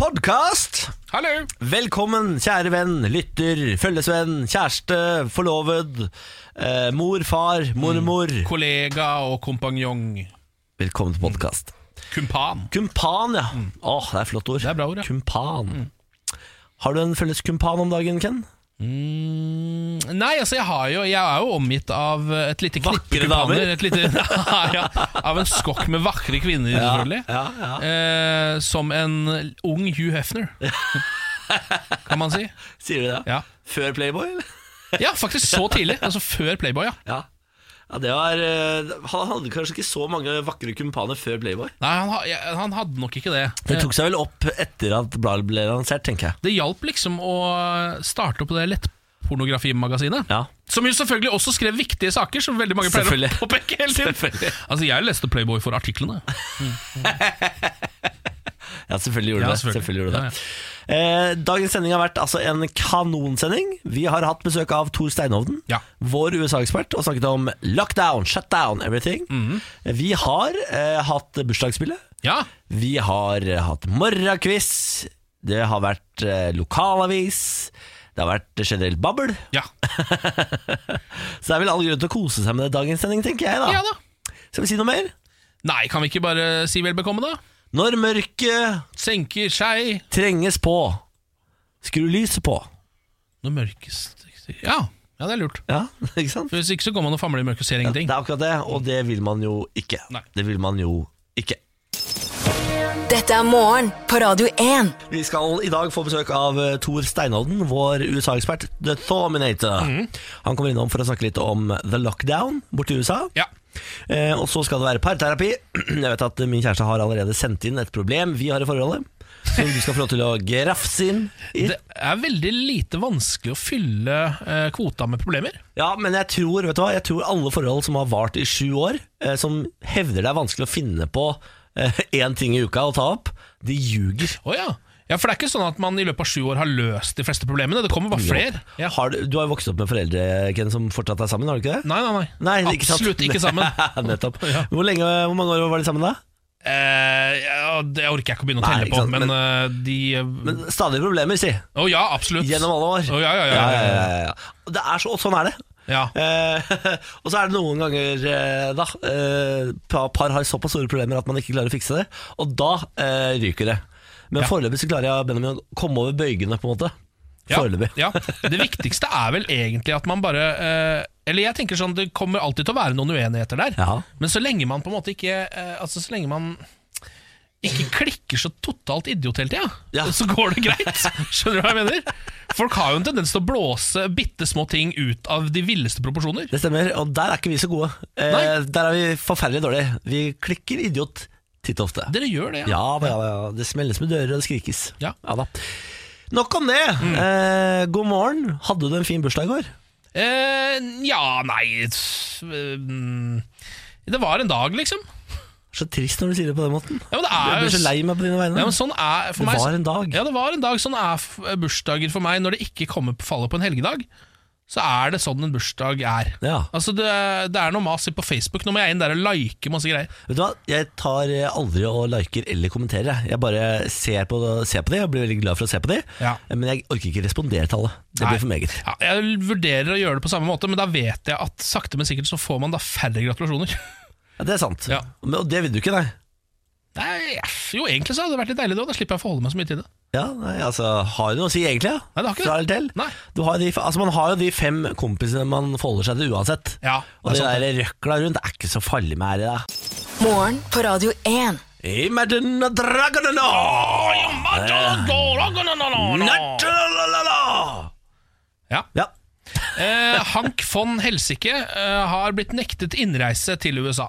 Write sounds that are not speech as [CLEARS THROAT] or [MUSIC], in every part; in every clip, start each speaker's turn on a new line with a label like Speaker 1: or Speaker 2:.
Speaker 1: Podkast!
Speaker 2: Hallo!
Speaker 1: Velkommen, kjære venn, lytter, følgesvenn, kjæreste, forloved, eh, mor, far, mormor.
Speaker 2: Mm. Kollega og kompanjong.
Speaker 1: Velkommen til podkast.
Speaker 2: Kumpan.
Speaker 1: Kumpan, ja. Åh, det er et flott ord.
Speaker 2: Mm. Det er bra ord, ja. Mm.
Speaker 1: Kumpan. Har du en felles kumpan om dagen, Ken?
Speaker 2: Nei, altså jeg, har jo, jeg er jo omgitt av et lite
Speaker 1: Vakre
Speaker 2: knippe
Speaker 1: damer.
Speaker 2: kumpaner. Et lite, [LAUGHS] Nei, ja, av en skokk med vakre kvinner, selvfølgelig.
Speaker 1: ja, ja.
Speaker 2: Eh, som en ung Hugh Hefner, kan man si.
Speaker 1: Sier du det?
Speaker 2: Ja.
Speaker 1: Før Playboy, eller?
Speaker 2: Ja, faktisk så tidlig. Altså før Playboy, ja.
Speaker 1: Ja. ja det var, eh, han hadde kanskje ikke så mange vakre kumpaner før Playboy.
Speaker 2: Nei, han, ha- ja, han hadde nok ikke det. Eh,
Speaker 1: Det tok seg vel opp etter at bladet ble lansert, tenker jeg.
Speaker 2: Det hjalp liksom å starte opp det lettpornografimagasinet.
Speaker 1: Ja.
Speaker 2: Som jo selvfølgelig også skrev viktige saker, som veldig mange pleier å
Speaker 1: Selvfølgelig.
Speaker 2: påpeke hele tiden.
Speaker 1: Selvfølgelig.
Speaker 2: Altså, jeg leste Playboy for artiklene.
Speaker 1: Ja, selvfølgelig gjorde
Speaker 2: Ja,
Speaker 1: du det.
Speaker 2: selvfølgelig.
Speaker 1: Selvfølgelig gjorde du det. Eh, dagens sending har vært altså en kanonsending. Vi har hatt besøk av Tor Steinhovden,
Speaker 2: Ja.
Speaker 1: vår USA-ekspert, og snakket om lockdown, shutdown, everything.
Speaker 2: Mhm.
Speaker 1: Vi har eh, hatt bursdagsspillet.
Speaker 2: Ja,
Speaker 1: Vi har eh, hatt morgenquiz. Det har vært eh, lokalavis. Det har vært generelt babbel.
Speaker 2: ja,
Speaker 1: Så det er vel all grunn til å kose seg med dagens sending, tenker jeg. da
Speaker 2: ja da.
Speaker 1: Skal vi si noe mer?
Speaker 2: Nei, kan vi ikke bare si vel bekomme, da?
Speaker 1: Når mørket
Speaker 2: Senker seg
Speaker 1: trenges på, skru lyset på.
Speaker 2: når mørkest Ja, ja det er lurt.
Speaker 1: Ja, [LAUGHS] ikke sant?
Speaker 2: For Hvis ikke så går man og famler i mørket og ser
Speaker 1: Det
Speaker 2: ingenting.
Speaker 1: er akkurat det, og det vil man jo ikke.
Speaker 2: Nei.
Speaker 1: Det vil man jo ikke.
Speaker 3: Dette er morgen på Radio 1.
Speaker 1: Vi skal i dag få besøk av eh, Thor Steinholden, vår USA-ekspert, The Thominator.
Speaker 2: Mhm.
Speaker 1: Han kommer innom for å snakke litt om the lockdown borte i USA.
Speaker 2: Ja.
Speaker 1: Eh, og så skal det være parterapi. [CLEARS THROAT] Jeg vet at eh, min kjæreste har allerede sendt inn et problem vi har i forholdet. Som du skal få lov til å grafse inn i.
Speaker 2: Det er veldig lite vanskelig å fylle eh, kvota med problemer.
Speaker 1: Ja, men jeg tror, vet du hva, jeg tror alle forhold som har vart i sju år, eh, som hevder det er vanskelig å finne på eh, [LAUGHS] én ting i uka å ta opp, de ljuger.
Speaker 2: Å ja. ja, for det er ikke sånn at man i løpet av sju år har løst de fleste problemene. Det kommer bare flere. Ja.
Speaker 1: Har du, du har jo vokst opp med foreldre Ken, som fortsatt er sammen, har du ikke det?
Speaker 2: Nei, nei, nei.
Speaker 1: ikke sant?
Speaker 2: Absolutt
Speaker 1: [LAUGHS]
Speaker 2: ikke sammen.
Speaker 1: Nettopp.
Speaker 2: Ja.
Speaker 1: Hvor, lenge, hvor mange år var de sammen da?
Speaker 2: Eh, ja, det orker jeg ikke å begynne å
Speaker 1: Nei,
Speaker 2: telle
Speaker 1: ikke
Speaker 2: på,
Speaker 1: sant,
Speaker 2: men,
Speaker 1: men-
Speaker 2: eh, de eh, Å
Speaker 1: Men stadig problemer, si.
Speaker 2: ja, absolutt.
Speaker 1: Gjennom alle år.
Speaker 2: Å, ja, ja, ja, ja, ja.
Speaker 1: ja, ja. Det er så, og sånn er det.
Speaker 2: ja.
Speaker 1: Eh, [LAUGHS] og så er det noen ganger eh, da eh, pa- par har såpass store problemer at man ikke klarer å fikse det, og da eh, ryker det. Men
Speaker 2: Ja.
Speaker 1: foreløpig så klarer jeg Benjamin å komme over bøygene, på en måte.
Speaker 2: Ja,
Speaker 1: Foreløpig.
Speaker 2: ja. Det viktigste er vel egentlig at man bare eh, Eller jeg tenker sånn, det kommer alltid til å være noen uenigheter der.
Speaker 1: Ja.
Speaker 2: Men så lenge man på en måte ikke eh, Altså så lenge man ikke klikker så totalt idiot hele tida,
Speaker 1: Ja.
Speaker 2: så går det
Speaker 1: [LAUGHS]
Speaker 2: greit. Skjønner du hva jeg mener? Folk har jo en tendens til å blåse bitte små ting ut av de villeste proporsjoner.
Speaker 1: Det stemmer, og der er ikke vi så gode. Eh,
Speaker 2: Nei.
Speaker 1: der er vi forferdelig dårlige. Vi klikker idiot titt og ofte.
Speaker 2: Dere gjør det,
Speaker 1: Ja, da, ja, da, ja. Det smelles med dører, og det skrikes.
Speaker 2: Ja. Mm.
Speaker 1: da. Nok om det! Eh, god morgen. Hadde du en fin bursdag i går?
Speaker 2: Eh, ja, nei s- eh, mm, Det var en dag, liksom.
Speaker 1: Så trist når du sier det på den måten.
Speaker 2: Ja, men det
Speaker 1: Jeg
Speaker 2: er
Speaker 1: blir så lei meg på dine vegne.
Speaker 2: Ja, men sånn er for
Speaker 1: Det
Speaker 2: meg,
Speaker 1: var en dag.
Speaker 2: Ja, det var en dag. Sånn er f- bursdager for meg. Når det ikke kommer på fallet på en helgedag, så er det sånn en bursdag er.
Speaker 1: Ja.
Speaker 2: Altså, det, det er noe mas på Facebook. Nå må jeg inn der og like masse greier.
Speaker 1: Vet du hva, jeg tar eh, aldri og liker eller kommenterer. jeg. Jeg bare ser på, ser på de og blir veldig glad for å se på de.
Speaker 2: Ja.
Speaker 1: Men jeg orker ikke respondere til alle. Det
Speaker 2: Nei.
Speaker 1: blir for meget.
Speaker 2: Ja, jeg vurderer å gjøre det på samme måte, men da vet jeg at sakte, men sikkert så får man da færre gratulasjoner. [LAUGHS]
Speaker 1: Ja, det er sant.
Speaker 2: Ja.
Speaker 1: Men, og det vil du ikke, nei.
Speaker 2: Nei, jo, egentlig så hadde det vært litt deilig da. Da slipper jeg å forholde meg så mye til det.
Speaker 1: Ja, nei, altså, Har du noe å si egentlig? Ja?
Speaker 2: Nei, det har ikke det.
Speaker 1: Fra eller til?
Speaker 2: Nei.
Speaker 1: Du har de, altså, man har jo de fem kompisene man forholder seg til uansett.
Speaker 2: Ja,
Speaker 1: og det
Speaker 2: det er sant,
Speaker 1: der røkla rundt er ikke så farlig med ære, da.
Speaker 3: Morgen på Radio 1.
Speaker 1: Imagine Dragon Eh.
Speaker 2: Ja.
Speaker 1: Ja.
Speaker 2: Eh, Hank von Helsike eh, har blitt nektet innreise til USA.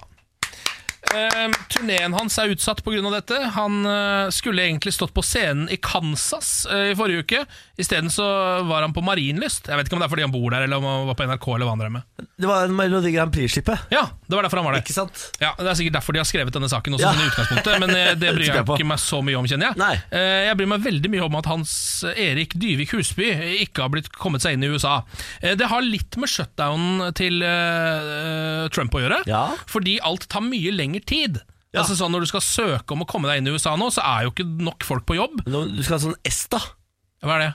Speaker 2: Eh, turneen hans er utsatt pga. dette. Han eh, skulle egentlig stått på scenen i Kansas eh, i forrige uke. Isteden så var han på Marienlyst. Jeg vet ikke om det er fordi han bor der, eller om han var på NRK, eller hva han drev med.
Speaker 1: Det var en Melodi Grand Prix-slippet.
Speaker 2: Ja, det var derfor han var der.
Speaker 1: Ikke sant?
Speaker 2: Ja, Det er sikkert derfor de har skrevet denne saken også,
Speaker 1: Ja.
Speaker 2: sånn i utgangspunktet. Men eh,
Speaker 1: [LAUGHS]
Speaker 2: det bryr
Speaker 1: Tipper
Speaker 2: jeg
Speaker 1: jeg på.
Speaker 2: ikke meg så mye om, kjenner jeg.
Speaker 1: Nei.
Speaker 2: Eh, Jeg bryr meg veldig mye om at Hans eh, Erik Dyvik Husby ikke har blitt kommet seg inn i USA. Eh, Det har litt med shutdownen til eh, Trump å gjøre,
Speaker 1: Ja.
Speaker 2: fordi alt tar mye lengre tid.
Speaker 1: Ja.
Speaker 2: Altså sånn Når du skal søke om å komme deg inn i USA nå, så er jo ikke nok folk på jobb.
Speaker 1: Nå- Du skal ha sånn S, da.
Speaker 2: Hva er det?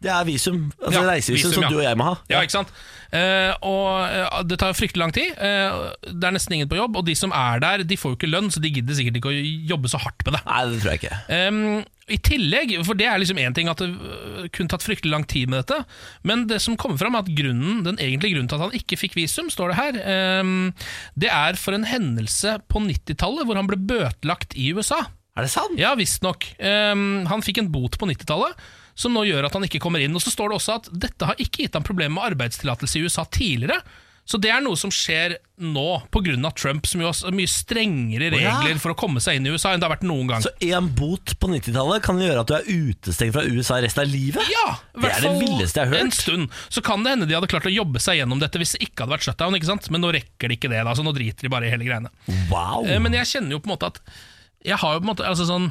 Speaker 1: Det er visum. Altså
Speaker 2: Ja,
Speaker 1: reisevisum
Speaker 2: visum,
Speaker 1: som
Speaker 2: ja.
Speaker 1: du og jeg må ha.
Speaker 2: Ja, ikke sant? Eh, og eh, Det tar fryktelig lang tid. Eh, det er nesten ingen på jobb, og de som er der, de får jo ikke lønn, så de gidder sikkert ikke å jobbe så hardt med det.
Speaker 1: Nei, det tror jeg ikke.
Speaker 2: Ehm, I tillegg, for det er liksom én ting at det øh, kunne tatt fryktelig lang tid med dette, men det som kommer fram, er at grunnen, den egentlige grunnen til at han ikke fikk visum, står det her, ehm, det er for en hendelse på 90-tallet hvor han ble bøtelagt i USA.
Speaker 1: Er det sant?
Speaker 2: Ja, visstnok. Um, han fikk en bot på 90-tallet, som nå gjør at han ikke kommer inn. Og så står det også at dette har ikke gitt ham problemer med arbeidstillatelse i USA tidligere. Så det er noe som skjer nå, pga. Trump, som jo har mye strengere
Speaker 1: Å, ja.
Speaker 2: regler for å komme seg inn i USA enn det har vært noen gang.
Speaker 1: Så én bot på 90-tallet kan gjøre at du er utestengt fra USA resten av livet?
Speaker 2: Ja, i
Speaker 1: Det er
Speaker 2: hvert
Speaker 1: det
Speaker 2: fall
Speaker 1: villeste jeg har hørt.
Speaker 2: En stund. Så kan det hende de hadde klart å jobbe seg gjennom dette hvis det ikke hadde vært shutdown, ikke sant? men nå rekker de ikke det, da, så nå driter de bare i hele greiene.
Speaker 1: Wow!
Speaker 2: Eh, Men jeg kjenner jo på en måte at Jeg har jo på en måte altså sånn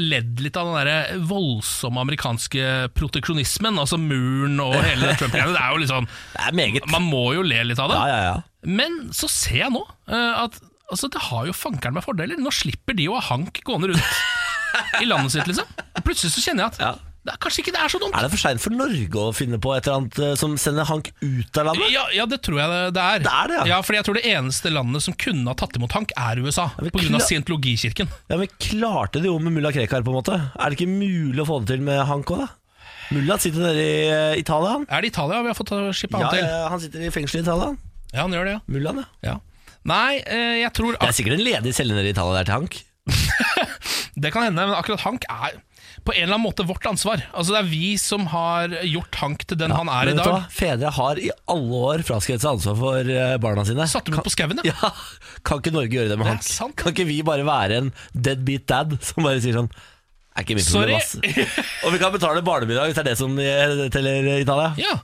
Speaker 2: ledd litt av den der eh, voldsomme amerikanske proteksjonismen, altså muren og hele det Trump-greiene. Det er jo litt sånn
Speaker 1: det er meget.
Speaker 2: Man må jo le litt av det.
Speaker 1: Ja, ja, ja.
Speaker 2: Men så ser jeg nå eh, at altså, det har jo fankeren meg fordeler. Nå slipper de å ha hank gående rundt
Speaker 1: [LAUGHS]
Speaker 2: i landet sitt, liksom. Plutselig så kjenner jeg at
Speaker 1: Ja.
Speaker 2: det er, kanskje ikke det er så dumt.
Speaker 1: Er det for seint for Norge å finne på et eller annet eh, som sender Hank ut av landet?
Speaker 2: Ja, ja, det tror jeg det- det er.
Speaker 1: Det er det, ja.
Speaker 2: ja. fordi jeg tror det eneste landet som kunne ha tatt imot Hank, er USA.
Speaker 1: men
Speaker 2: Pga.
Speaker 1: kla-
Speaker 2: scientologikirken.
Speaker 1: Ja, men klarte det jo med mulla Krekar, på en måte. Er det ikke mulig å få det til med Hank òg, da? Mulla sitter nede i eh, Italia, han.
Speaker 2: Er det Italia vi har fått skippa han
Speaker 1: Ja,
Speaker 2: til?
Speaker 1: eh, han sitter i fengsel i Italia, han.
Speaker 2: Ja, han gjør det, ja.
Speaker 1: Mullaen, ja.
Speaker 2: ja. Nei, eh, jeg tror
Speaker 1: Det
Speaker 2: ak
Speaker 1: er sikkert en ledig celle nede i Italia der til Hank.
Speaker 2: det kan hende, men akkurat Hank er på en eller annen måte vårt ansvar. Altså Det er vi som har gjort Hank til den han er i
Speaker 1: Men vet du
Speaker 2: dag.
Speaker 1: hva? Fedre har i alle år fraskrevet seg ansvar for eh, barna sine.
Speaker 2: Satte du på skauen, ja?
Speaker 1: [LAUGHS] Ja, Kan ikke Norge gjøre det med
Speaker 2: Det er
Speaker 1: Hank?
Speaker 2: sant.
Speaker 1: Kan ikke vi bare være en deadbeat dad som bare sier sånn er ikke mitt
Speaker 2: Sorry.
Speaker 1: problem, ass. [LAUGHS] Og vi kan betale barnebidrag hvis det er det som eh, teller i Italia.
Speaker 2: ja.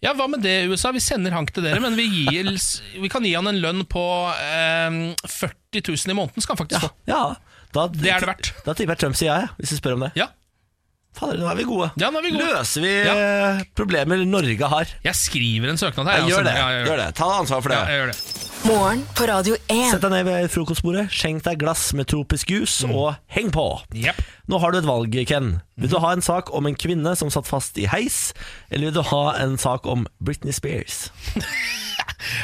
Speaker 2: Ja, Hva med det, USA? Vi sender Hank til dere, men vi, gir, vi kan gi han en lønn på eh, 40 000 i måneden, skal han faktisk få.
Speaker 1: Ja, da,
Speaker 2: Det er det verdt.
Speaker 1: Da tipper jeg Trump sier ja, ja, hvis du spør om det.
Speaker 2: Ja.
Speaker 1: Fader, nå er vi gode.
Speaker 2: Ja, nå er vi gode.
Speaker 1: Løser vi eh, problemer Norge har.
Speaker 2: Jeg skriver en søknad her. altså.
Speaker 1: Ja, gjør det.
Speaker 2: Ja, jeg
Speaker 1: gjør det. Ta ansvar for det.
Speaker 2: Ja, jeg gjør det.
Speaker 3: Morgen på Radio 1.
Speaker 1: Sett deg ned ved frokostbordet, skjenk deg glass med tropisk jus, og heng på.
Speaker 2: Jepp.
Speaker 1: Nå har du et valg, Ken. Vil du ha en sak om en kvinne som satt fast i heis, eller vil du ha en sak om Britney Spears?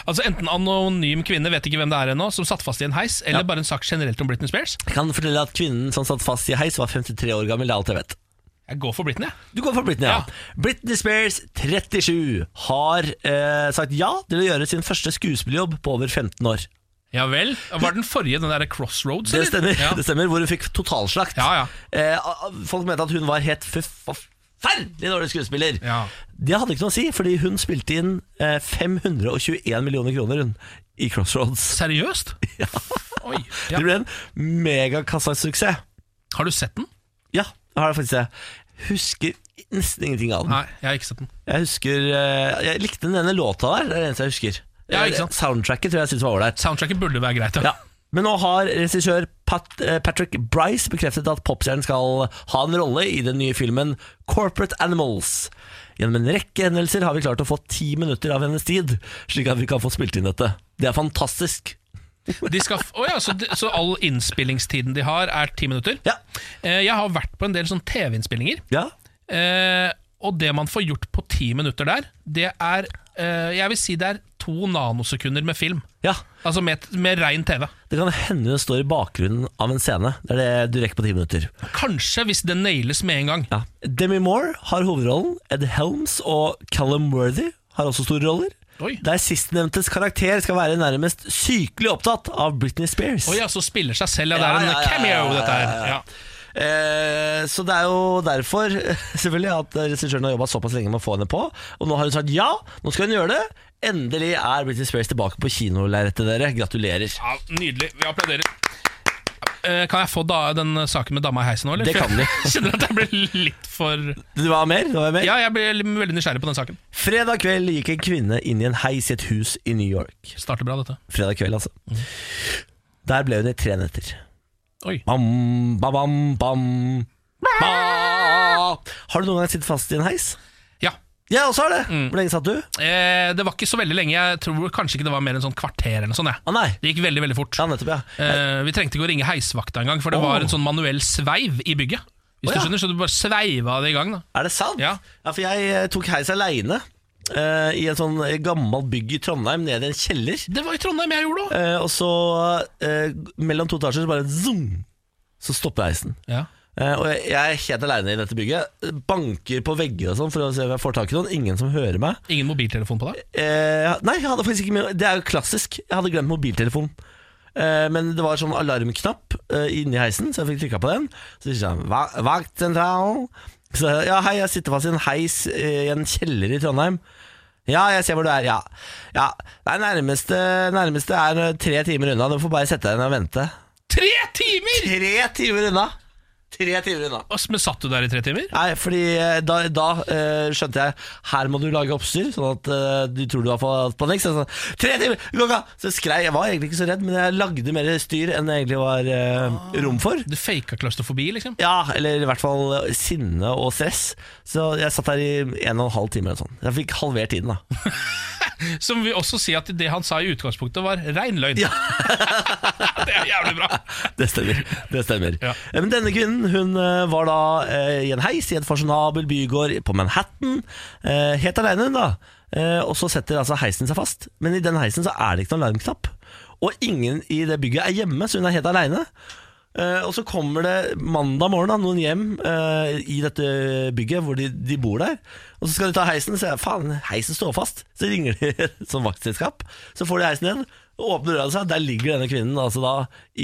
Speaker 2: Altså Enten anonym kvinne, vet ikke hvem det er ennå, som satt fast i en heis, eller bare en sak generelt om Britney Spears.
Speaker 1: Jeg kan fortelle at kvinnen som satt fast i heis, var 53 år gammel. Det er alt jeg vet.
Speaker 2: Jeg går for Britney. jeg.
Speaker 1: Du går for Britney, ja.
Speaker 2: Ja.
Speaker 1: Britney Spears, 37, har eh, sagt ja til å gjøre sin første skuespillerjobb på over 15 år.
Speaker 2: Ja vel? Var den forrige den derre Crossroads?
Speaker 1: Det
Speaker 2: eller?
Speaker 1: stemmer,
Speaker 2: Ja.
Speaker 1: det stemmer hvor hun fikk totalslakt.
Speaker 2: Ja, ja.
Speaker 1: Eh, a- a- folk mente at hun var helt forf- forferdelig dårlig skuespiller.
Speaker 2: Ja.
Speaker 1: Det hadde ikke noe å si, fordi hun spilte inn eh, 521 millioner kroner hun, i Crossroads. [LAUGHS]
Speaker 2: Seriøst? Oi. Ja.
Speaker 1: Det ble en megakassasuksess.
Speaker 2: Har du sett den?
Speaker 1: Ja, det har jeg faktisk det. Husker nesten ingenting av den.
Speaker 2: Nei, jeg har ikke sett den.
Speaker 1: Jeg husker eh, Jeg likte den ene låta der, det er det eneste jeg husker. Eh,
Speaker 2: Ja, ikke sant?
Speaker 1: Soundtracket tror jeg jeg syntes var ålreit.
Speaker 2: Soundtracket burde være greit.
Speaker 1: Ja. Men nå har regissør Pat, eh, Patrick Bryce bekreftet at popstjernen skal ha en rolle i den nye filmen Corporate Animals. Gjennom en rekke hendelser har vi klart å få ti minutter av hennes tid, slik at vi kan få spilt inn dette. Det er fantastisk.
Speaker 2: [LAUGHS] De skal, f- Å ja, så, de- så all innspillingstiden de har, er ti minutter?
Speaker 1: Ja.
Speaker 2: Eh, Jeg har vært på en del sånn TV-innspillinger,
Speaker 1: Ja,
Speaker 2: eh, og det man får gjort på ti minutter der, det er eh, Jeg vil si det er to nanosekunder med film.
Speaker 1: ja.
Speaker 2: Altså med, med rein TV.
Speaker 1: Det kan hende hun står i bakgrunnen av en scene. Det er det du rekker på ti minutter.
Speaker 2: Kanskje, hvis det nailes med en gang.
Speaker 1: Ja. Demi Moore har hovedrollen. Ed Helms og Callum Worthy har også store roller.
Speaker 2: Oi.
Speaker 1: Der sistnevntes karakter skal være nærmest sykelig opptatt av Britney Spears.
Speaker 2: Oi, ja, så spiller seg selv, ja. Det
Speaker 1: Ja,
Speaker 2: er en
Speaker 1: ja, ja,
Speaker 2: cameo,
Speaker 1: ja, ja,
Speaker 2: dette her.
Speaker 1: ja, ja.
Speaker 2: Ja.
Speaker 1: Eh, Så det er jo derfor [LAUGHS] eh, selvfølgelig at regissøren har jobba såpass lenge med å få henne på. Og nå har hun sagt ja, nå skal hun gjøre det. Endelig er Britney Spears tilbake på kinolerretet, dere. Gratulerer.
Speaker 2: ja, Nydelig. Vi applauderer. eh, Kan jeg få da, den saken med dama i heisen nå, eller?
Speaker 1: Det kan du.
Speaker 2: [LAUGHS] Jeg kjenner at jeg blir litt for
Speaker 1: Det var mer, det var mer.
Speaker 2: Ja, jeg blir litt- veldig nysgjerrig på den saken.
Speaker 1: Fredag kveld gikk en kvinne inn i en heis i et hus i New York.
Speaker 2: Starter bra, dette.
Speaker 1: Fredag kveld, altså.
Speaker 2: Mm.
Speaker 1: Der ble hun i tre netter.
Speaker 2: Oi.
Speaker 1: Bam, ba, bam, bam. Ba. Har du noen gang sittet fast i en heis?
Speaker 2: Ja.
Speaker 1: Jeg også har det.
Speaker 2: Mm.
Speaker 1: Hvor lenge satt du? Å
Speaker 2: Eh, det var ikke så veldig lenge. Jeg tror kanskje ikke det var mer enn sånn kvarter eller noe sånt. jeg.
Speaker 1: nei.
Speaker 2: Det gikk veldig, veldig fort.
Speaker 1: Ja, nettopp, ja.
Speaker 2: Eh, vi trengte ikke å ringe heisvakta engang, for det
Speaker 1: Åh.
Speaker 2: var en sånn manuell sveiv i bygget.
Speaker 1: Å,
Speaker 2: Hvis
Speaker 1: ja.
Speaker 2: du skjønner, Så du bare sveiva det i gang. da
Speaker 1: Er det sant?
Speaker 2: Ja.
Speaker 1: for jeg eh, tok heis aleine eh, i en sånn gammelt bygg i Trondheim, ned i en kjeller.
Speaker 2: Det var i Trondheim jeg gjorde det òg!
Speaker 1: Eh, og så, eh, mellom to etasjer, så bare zoom, så stopper heisen.
Speaker 2: Ja.
Speaker 1: Eh, og jeg, jeg er helt aleine i dette bygget. Banker på vegger og sånn for å se om jeg får tak i noen. Ingen som hører meg.
Speaker 2: Ingen mobiltelefon på deg?
Speaker 1: Eh, nei, jeg hadde faktisk ikke med Det er jo klassisk. Jeg hadde glemt mobiltelefonen. Eh, men det var sånn alarmknapp eh, inni heisen, så jeg fikk trykka på den. Så sier han "Va- vaktsentral. Så jeg, ja, hei, jeg sitter fast i en heis eh, i en kjeller i Trondheim. Ja, jeg ser hvor du er, ja. ja. Nei, nærmeste, nærmeste er eh, tre timer unna. Du får bare sette deg ned og vente.
Speaker 2: Tre timer!
Speaker 1: Tre timer unna! Tre timer unna.
Speaker 2: Ass, Men satt du der i tre timer?
Speaker 1: Nei, fordi eh, da, da eh, skjønte jeg Her må du lage oppstyr Sånn at eh, du tror du har fått panikk Så jeg sa, tre timer, det går ikke an!» Så skrei, jeg var egentlig ikke så redd Men jeg lagde mer styr enn det egentlig var eh, rom for
Speaker 2: Du faka klaustrofobi, liksom?
Speaker 1: Ja, eller i hvert fall eh, sinne og stress Så jeg satt der i en og en halv time eller sånn. Jeg fikk halvert tiden da [LAUGHS]
Speaker 2: Som vil også si at det han sa i utgangspunktet, var rein løgn. [LAUGHS] det er jævlig bra.
Speaker 1: Det stemmer. Det stemmer.
Speaker 2: Ja.
Speaker 1: Eh, Men denne kvinnen hun eh, var da eh, i en heis i en fasjonabel bygård på Manhattan. eh, Helt aleine, hun da. Eh, Og så setter altså heisen seg fast. Men i den heisen så er det ikke noen alarmknapp. Og ingen i det bygget er hjemme, så hun er helt aleine. Eh, og så kommer det mandag morgen da, noen hjem eh, i dette bygget hvor de, de bor der. Og så skal de ta heisen, så jeg, faen, heisen står fast. Så ringer de [LAUGHS] som vaktselskap, så får de heisen igjen. Og åpner døra seg, der ligger denne kvinnen altså da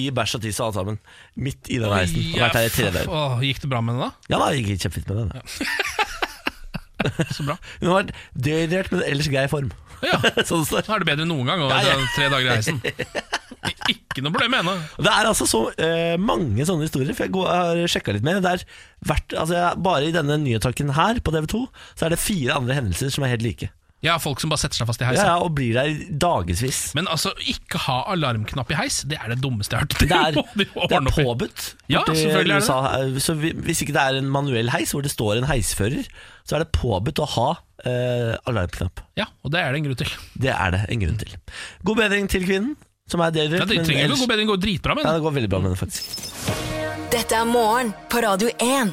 Speaker 1: i bæsj og tiss og alt sammen. Midt i den heisen. Og vært her i tre
Speaker 2: Ja,
Speaker 1: dager.
Speaker 2: faen. Åh, Gikk det bra med den da?
Speaker 1: Ja da, det gikk kjempefint med den.
Speaker 2: Så bra.
Speaker 1: Hun har vært dehydrert, men ellers grei form.
Speaker 2: Ja.
Speaker 1: [LAUGHS] sånn det står.
Speaker 2: Nå er det bedre enn noen gang å
Speaker 1: Ja, ja.
Speaker 2: dra tre dager i heisen. Ikke noe problem ennå.
Speaker 1: Og Det er altså så eh, mange sånne historier, for jeg går, har sjekka litt mer. Det er hvert, altså jeg, bare i denne nyhetssaken her på TV 2, så er det fire andre hendelser som er helt like.
Speaker 2: Jeg har folk som bare setter seg fast i
Speaker 1: Ja,
Speaker 2: heisen.
Speaker 1: ja, Og blir der i
Speaker 2: [LAUGHS]
Speaker 1: dagevis.
Speaker 2: Men altså, ikke ha alarmknapp i heis, det er [LAUGHS] det dummeste jeg har hørt.
Speaker 1: Det er,
Speaker 2: må de
Speaker 1: det
Speaker 2: ordne
Speaker 1: er
Speaker 2: opp i.
Speaker 1: påbudt.
Speaker 2: Ja,
Speaker 1: borti
Speaker 2: selvfølgelig er det
Speaker 1: USA. Så vi- hvis ikke det er en manuell heis hvor det står en heisfører, så er det påbudt å ha eh, alarmknapp.
Speaker 2: Ja, og det er det en grunn til.
Speaker 1: Det er det en grunn til. God bedring til kvinnen, som er
Speaker 2: Ja,
Speaker 1: dehydrert.
Speaker 2: det
Speaker 1: men
Speaker 2: trenger ikke
Speaker 1: ellers-
Speaker 2: å gå bedre, det går dritbra med
Speaker 1: Ja,
Speaker 2: den.
Speaker 1: det går veldig bra med henne, faktisk.
Speaker 3: Dette er morgen på Radio 1.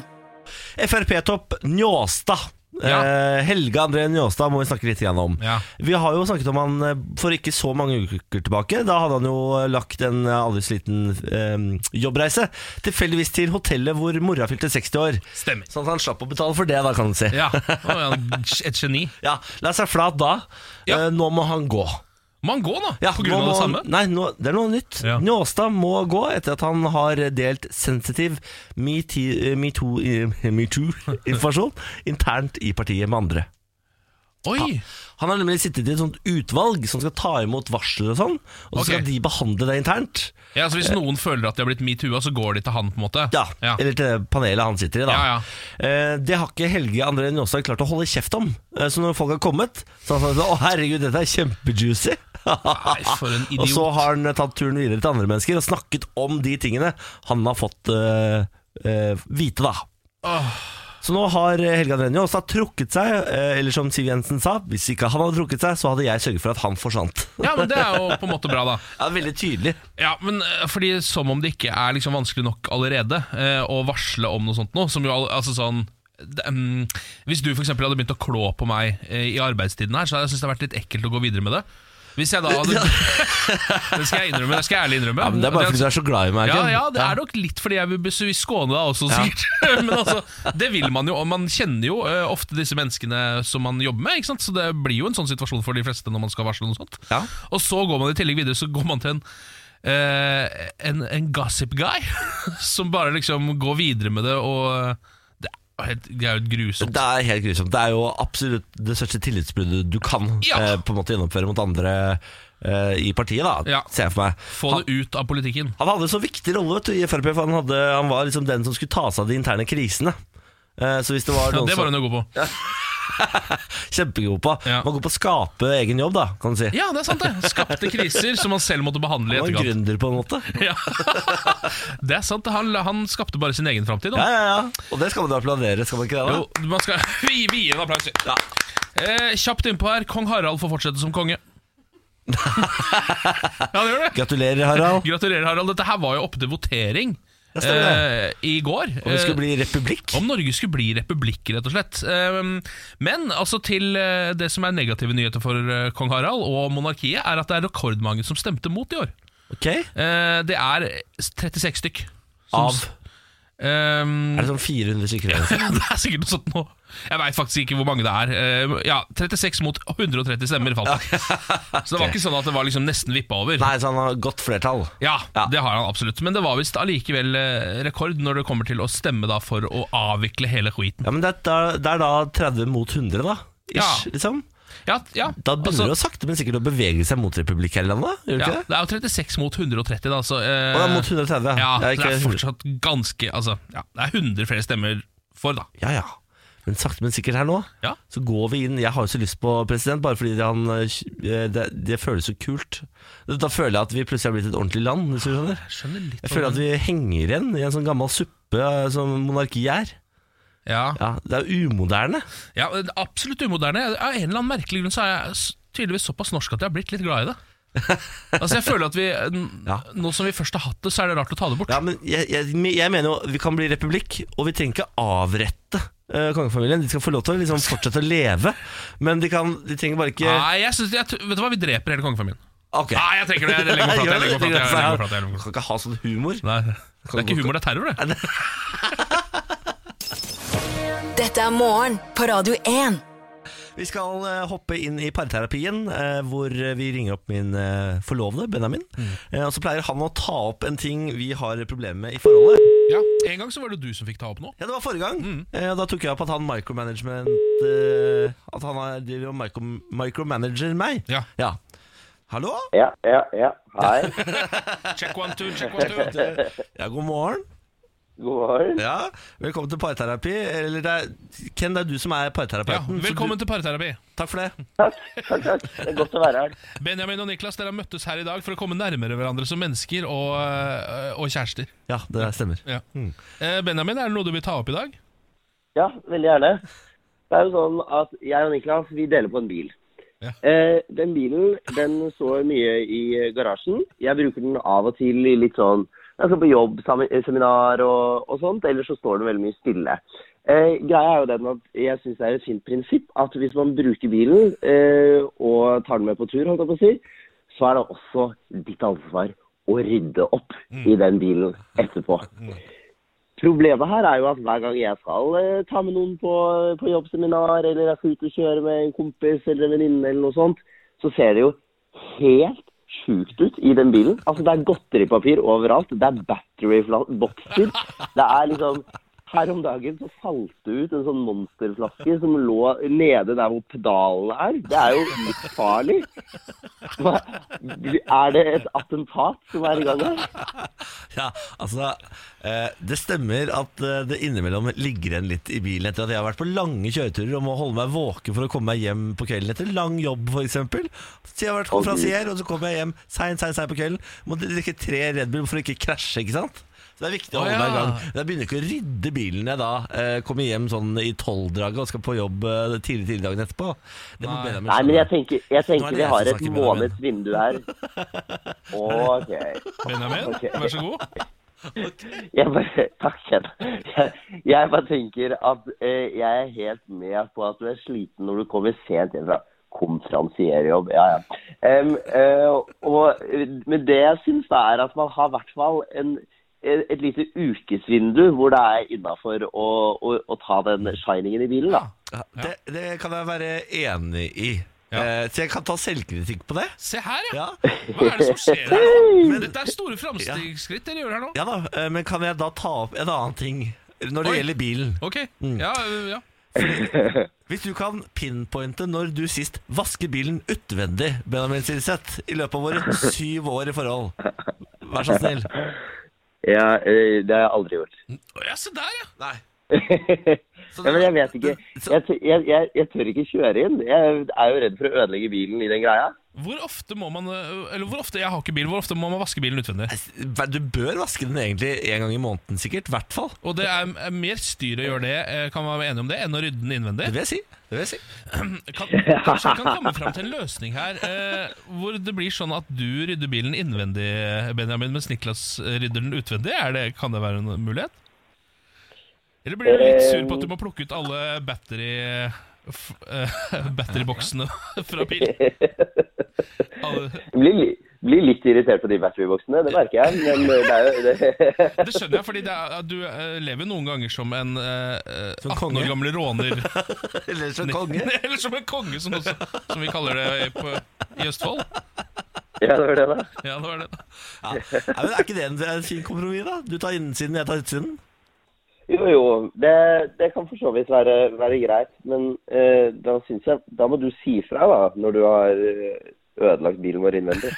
Speaker 1: Frp-topp Njåstad.
Speaker 2: Ja.
Speaker 1: Eh, Helge André Njåstad må vi snakke litt grann om.
Speaker 2: Ja.
Speaker 1: Vi har jo snakket om han eh, for ikke så mange uker tilbake. Da hadde han jo eh, lagt en eh, aldri så liten eh, jobbreise tilfeldigvis til hotellet hvor mora fylte 60 år.
Speaker 2: Stemmer.
Speaker 1: Sånn at han slapp å betale for det, da, kan du si.
Speaker 2: Ja, å, ja, Et geni.
Speaker 1: [LAUGHS] Ja, La seg flat da.
Speaker 2: Ja.
Speaker 1: Eh, nå må han gå.
Speaker 2: Må han gå, da?
Speaker 1: Ja,
Speaker 2: på grunn
Speaker 1: nå
Speaker 2: av det
Speaker 1: må-
Speaker 2: samme?
Speaker 1: Nei, nå, det er noe nytt.
Speaker 2: Ja.
Speaker 1: Njåstad må gå etter at han har delt sensitiv metoo-informasjon [LAUGHS] internt i partiet med andre.
Speaker 2: Oi!
Speaker 1: Han har nemlig sittet i et sånt utvalg som skal ta imot varsler og sånn, og så skal
Speaker 2: Ok.
Speaker 1: de behandle det internt.
Speaker 2: Ja, så Hvis noen føler at de har blitt metoo-a, så går de til han, på en måte?
Speaker 1: Eh. Ja,
Speaker 2: ja.
Speaker 1: Eller til det panelet han sitter i, da.
Speaker 2: Ja,
Speaker 1: Eh, det har ikke Helge André Njåstad klart å holde kjeft om. Eh, så når folk har kommet, så har han sagt 'Å, herregud, dette er kjempejuicy'. [LAUGHS]
Speaker 2: Nei, for en
Speaker 1: Ah, og så
Speaker 2: idiot.
Speaker 1: har han tatt turen videre til andre mennesker og snakket om de tingene han har fått eh, eh, vite, da.
Speaker 2: Åh,
Speaker 1: Så nå har Helge André Njåstad trukket seg, eh, eller som Siv Jensen sa, hvis ikke han hadde trukket seg, så hadde jeg sørget for at han forsvant. [LAUGHS]
Speaker 2: ja, men det er jo på en måte bra, da.
Speaker 1: Ja, veldig tydelig.
Speaker 2: Ja, men eh, fordi Som om det ikke er liksom vanskelig nok allerede eh, å varsle om noe sånt nå. Som jo, al- altså sånn det, mm, Hvis du for eksempel hadde begynt å klå på meg eh, i arbeidstiden her, så hadde jeg syntes det hadde vært litt ekkelt å gå videre med det. Hvis jeg da hadde [LAUGHS] Det skal jeg innrømme, det skal jeg ærlig innrømme.
Speaker 1: Ja, men det er bare fordi du er så glad i meg,
Speaker 2: ja,
Speaker 1: Ken.
Speaker 2: ja, det er nok litt fordi jeg vil bes- vil skåne deg også,
Speaker 1: Ja.
Speaker 2: sikkert. [LAUGHS] Men altså, det vil man jo, og man kjenner jo eh, ofte disse menneskene som man jobber med, ikke sant? så det blir jo en sånn situasjon for de fleste når man skal varsle noe sånt.
Speaker 1: Ja.
Speaker 2: Og så går man i tillegg videre, så går man til en eh, en, en gossip guy [LAUGHS] som bare liksom går videre med det, og eh, det er, helt, det er jo et grusomt.
Speaker 1: Det er helt grusomt. Det er jo absolutt det største tillitsbruddet du kan
Speaker 2: Ja.
Speaker 1: eh, på en måte gjennomføre mot andre eh, i partiet, da,
Speaker 2: Ja.
Speaker 1: ser jeg for meg.
Speaker 2: Få
Speaker 1: Han-
Speaker 2: det ut av politikken.
Speaker 1: Han hadde en så viktig rolle vet du, i Frp, for han, hadde, han var liksom den som skulle ta seg av de interne krisene. Eh, Så hvis det var
Speaker 2: Ja,
Speaker 1: noen
Speaker 2: det var hun
Speaker 1: som
Speaker 2: jo god på.
Speaker 1: Kjempegod på.
Speaker 2: Ja.
Speaker 1: Man går på å skape egen jobb, da, kan du si.
Speaker 2: Ja, det er sant, det. Skapte kriser som han selv måtte behandle i
Speaker 1: Man er
Speaker 2: etterkant.
Speaker 1: gründer, på en måte.
Speaker 2: Ja. [LAUGHS] Det er sant, det. han, han skapte bare sin egen framtid.
Speaker 1: Ja,
Speaker 2: han.
Speaker 1: ja, ja. Og det skal man jo applaudere, skal man ikke det? da?
Speaker 2: Jo, man skal [LAUGHS] vi, vi gir en applaus. vi.
Speaker 1: Ja.
Speaker 2: Eh, kjapt innpå her. Kong Harald får fortsette som
Speaker 1: [LAUGHS]
Speaker 2: konge. ja, det gjør det.
Speaker 1: Gratulerer, Harald.
Speaker 2: Gratulerer, Harald. Dette her var jo oppe til votering
Speaker 1: Ja, stemmer det.
Speaker 2: eh, i går.
Speaker 1: Om det
Speaker 2: Eh,
Speaker 1: skulle bli republikk.
Speaker 2: Om Norge skulle bli republikk, rett og slett. Ehm, Men altså til eh, det som er negative nyheter for eh, kong Harald og monarkiet, er at det er rekordmange som stemte mot i år.
Speaker 1: Ok Er
Speaker 2: Eh, Det er 36 stykk. som-
Speaker 1: Av?
Speaker 2: Ehm,
Speaker 1: det sånn 400 stykker?
Speaker 2: [LAUGHS]
Speaker 1: eller noe sånt?
Speaker 2: det er sikkert noe sånt nå. Jeg veit faktisk ikke hvor mange det er. Eh, Ja, 36 mot 130 stemmer, falt
Speaker 1: [LAUGHS]
Speaker 2: det. Så det var ikke sånn at det var liksom nesten vippa over.
Speaker 1: [LAUGHS] Nei, så han har godt flertall.
Speaker 2: Ja,
Speaker 1: Ja.
Speaker 2: det har han absolutt. Men det var visst allikevel eh, rekord når det kommer til å stemme da for å avvikle hele
Speaker 1: Ja,
Speaker 2: skiten.
Speaker 1: men det er, da- det er da 30 mot 100, da. Ish,
Speaker 2: Ja.
Speaker 1: liksom.
Speaker 2: Ja, ja.
Speaker 1: Da begynner
Speaker 2: altså,
Speaker 1: det å sakte, men sikkert å bevege seg mot republikk her i landet? Gjør det
Speaker 2: ja,
Speaker 1: ikke det?
Speaker 2: det er jo 36 mot 130, da. Så, eh,
Speaker 1: Og det er mot 130. Det
Speaker 2: ja,
Speaker 1: er
Speaker 2: så det er
Speaker 1: ikke 100.
Speaker 2: fortsatt ganske Altså, ja, det er 100 flere stemmer for, da.
Speaker 1: Ja, ja. Men sakte, men sikkert her nå,
Speaker 2: Ja.
Speaker 1: så går vi inn Jeg har jo så lyst på president, bare fordi det, han, eh, det, det føles så kult. Da føler jeg at vi plutselig har blitt et ordentlig land. Hvis du skjønner.
Speaker 2: Skjønner litt
Speaker 1: Jeg føler at vi henger igjen i en sånn gammel suppe eh, som monarki er.
Speaker 2: ja.
Speaker 1: Ja, Det er umoderne.
Speaker 2: ja, det er absolutt umoderne. Av en eller annen merkelig grunn så er jeg s- tydeligvis såpass norsk at jeg har blitt litt
Speaker 1: [LAUGHS]
Speaker 2: glad i det. Altså, jeg føler at vi n-
Speaker 1: Ja.
Speaker 2: Nå som vi først har hatt det, så er det rart å ta det bort.
Speaker 1: Ja, men jeg, jeg, jeg mener jo vi kan bli republikk, og vi trenger ikke avrette eh, kongefamilien. De skal få lov til å liksom, fortsette å leve, men de, kan, de trenger bare ikke
Speaker 2: Nei, jeg synes, jeg, t- vet du hva, vi dreper hele kongefamilien.
Speaker 1: Ok.
Speaker 2: Nei, jeg trekker Ah, det. Jeg legger meg flat. Jeg legger meg
Speaker 1: [LAUGHS]
Speaker 2: flat, jeg legger meg flat, jeg legger meg
Speaker 1: Du kan ikke ha sånn humor.
Speaker 2: Nei, det er ikke humor, det er terror, det.
Speaker 3: Dette er morgen på Radio 1.
Speaker 1: Vi skal eh, hoppe inn i parterapien, eh, hvor eh, vi ringer opp min eh, forlovede, Benjamin. Eh, og så pleier han å ta opp en ting vi har problemer med i forholdet.
Speaker 2: Ja, En gang så var det du som fikk ta opp noe.
Speaker 1: Ja, det var forrige gang. Eh, og da tok jeg opp at han micromanagement eh, At han er, driver og micro, micromanager meg.
Speaker 2: Ja.
Speaker 1: ja. Hallo?
Speaker 4: Ja, ja, ja. Hei.
Speaker 2: Check one, two, check one, two.
Speaker 1: [LAUGHS] Ja, god morgen.
Speaker 4: God morgen.
Speaker 1: Ja, Velkommen til parterapi. Eller det er, Ken, det er du som er
Speaker 2: Ja,
Speaker 1: parterapeuten. så
Speaker 2: velkommen til parterapi.
Speaker 1: Du, takk for det.
Speaker 4: Takk, takk, takk. Det er godt å være her.
Speaker 2: Benjamin og Niklas, dere har møttes her i dag for å komme nærmere hverandre som mennesker og, øh, og kjærester.
Speaker 1: Ja, det stemmer.
Speaker 2: Ja. Eh, Benjamin, er det noe du vil ta opp i dag?
Speaker 4: Ja, veldig gjerne. Det er jo sånn at jeg og Niklas, vi deler på en bil.
Speaker 2: Ja.
Speaker 4: Eh, den bilen, den står mye i eh, garasjen. Jeg bruker den av og til i litt sånn Jeg skal på jobb, sami- eh, seminar og, og sånt. Ellers så står den veldig mye stille. Eh, greia er jo den at jeg syns det er et fint prinsipp at hvis man bruker bilen eh, og tar den med på tur, holdt jeg på å si, så er det også ditt ansvar å rydde opp i den bilen etterpå. Problemet her er jo at hver gang jeg skal eh, ta med noen på, på jobbseminar, eller jeg skal ut og kjøre med en kompis eller en venninne, eller noe sånt, så ser det jo helt sjukt ut i den bilen. Altså, det er godteripapir overalt. Det er batterybokser. Det er liksom Her om dagen så falt det ut en sånn monsterflaske som lå nede der hvor pedalene er. Det er jo litt farlig. Hva, er det et attentat som er i gang her?
Speaker 1: Ja, altså eh, Det stemmer at eh, det innimellom ligger igjen litt i bilen etter at jeg har vært på lange kjøreturer og må holde meg våken for å komme meg hjem på kvelden etter lang jobb, f.eks. Så jeg har vært konferansier, og så kommer jeg hjem seint, seint, seint på kvelden. Må drikke tre Red Bull for å ikke krasje, ikke sant? Så det er viktig å
Speaker 2: Å,
Speaker 1: holde meg i
Speaker 2: ja.
Speaker 1: gang. Men Jeg begynner ikke å rydde bilen jeg da eh, kommer hjem sånn i tolvdraget og skal på jobb eh, tidlig tidlig dagen etterpå. Det må
Speaker 2: Nei.
Speaker 1: Benjamin
Speaker 4: Nei, men jeg tenker, jeg
Speaker 1: Nå er
Speaker 4: tenker
Speaker 1: det
Speaker 4: vi
Speaker 1: jeg som
Speaker 4: har et
Speaker 1: snakker med deg,
Speaker 4: måneds vindu her. Ok.
Speaker 2: Benjamin,
Speaker 4: Ok.
Speaker 2: vær så god.
Speaker 4: Jeg bare, takk, Kjell. Jeg, jeg bare tenker at eh, jeg er helt med på at du er sliten når du kommer sent hjem fra konferansierjobb. Ja, ja. Em, eh, og, men det jeg syns, da, er at man har i hvert fall en et lite ukesvindu hvor det er innafor å, å, å ta den shiningen i bilen, da.
Speaker 1: Ja, det, det kan jeg være enig i.
Speaker 2: Ja.
Speaker 1: Eh, så jeg kan ta selvkritikk på det.
Speaker 2: Se her, ja.
Speaker 1: Ja
Speaker 2: Hva er det som skjer her nå? Men dette er store framstegsskritt dere gjør her nå.
Speaker 1: Ja da, eh, men kan jeg da ta opp en annen ting når det
Speaker 2: Oi.
Speaker 1: gjelder bilen?
Speaker 2: Ok, ja, øh, ja.
Speaker 1: Hvis du kan pinpointe når du sist vasket bilen utvendig, Benjamin Silseth, i løpet av våre syv år i forhold, vær så snill.
Speaker 4: Ja, eh, det har jeg aldri gjort.
Speaker 2: Å, ja, se der, ja!
Speaker 1: Nei.
Speaker 4: [LAUGHS]
Speaker 1: Så
Speaker 4: Ja, men jeg vet ikke.
Speaker 1: Så-
Speaker 4: Jeg, tør- jeg, jeg, jeg tør ikke kjøre inn. Jeg er jo redd for å ødelegge bilen i den greia.
Speaker 2: Hvor ofte må man øh, Eller hvor ofte jeg har ikke bil, hvor ofte må man vaske bilen utvendig?
Speaker 1: Hva- Du bør vaske den egentlig en gang i måneden, sikkert. I hvert fall.
Speaker 2: Og det er er mer styr å gjøre det, eh, kan man være enig om det, enn å rydde den innvendig.
Speaker 1: Det vil jeg si. Det vil jeg si.
Speaker 2: Kan, kanskje vi kan komme fram til en løsning her, eh, hvor det blir sånn at du rydder bilen innvendig, Benjamin, mens Niklas eh, rydder den utvendig. Er det, kan det være en mulighet? Eller blir du litt sur på at du må plukke ut alle battery... f- eh, [LAUGHS] Batteryboksene [LAUGHS] fra bilen? Alle,
Speaker 4: Jeg blir, li- blir litt irritert på de batteryboksene, det merker jeg. Men det [LAUGHS] er jo det.
Speaker 2: det skjønner jeg, fordi det er, du eh, lever jo noen ganger som en eh, eh,
Speaker 1: Som
Speaker 2: 18
Speaker 1: konge.
Speaker 2: år gammel råner.
Speaker 1: [LAUGHS] [LAUGHS] Eller som konge.
Speaker 2: [LAUGHS] Eller som en konge, som, også, som vi kaller det på, i Østfold.
Speaker 4: Ja, det var det, da.
Speaker 2: Ja, det var det.
Speaker 1: Ja. Nei, men er ikke det en, det er en fin kompromiss, da? Du tar innsiden, jeg tar utsiden.
Speaker 4: Jo, jo. Det, det kan for så vidt være, være greit. Men eh, da syns jeg Da må du si fra, da, når du har eh, ødelagt bilen vår innvendig.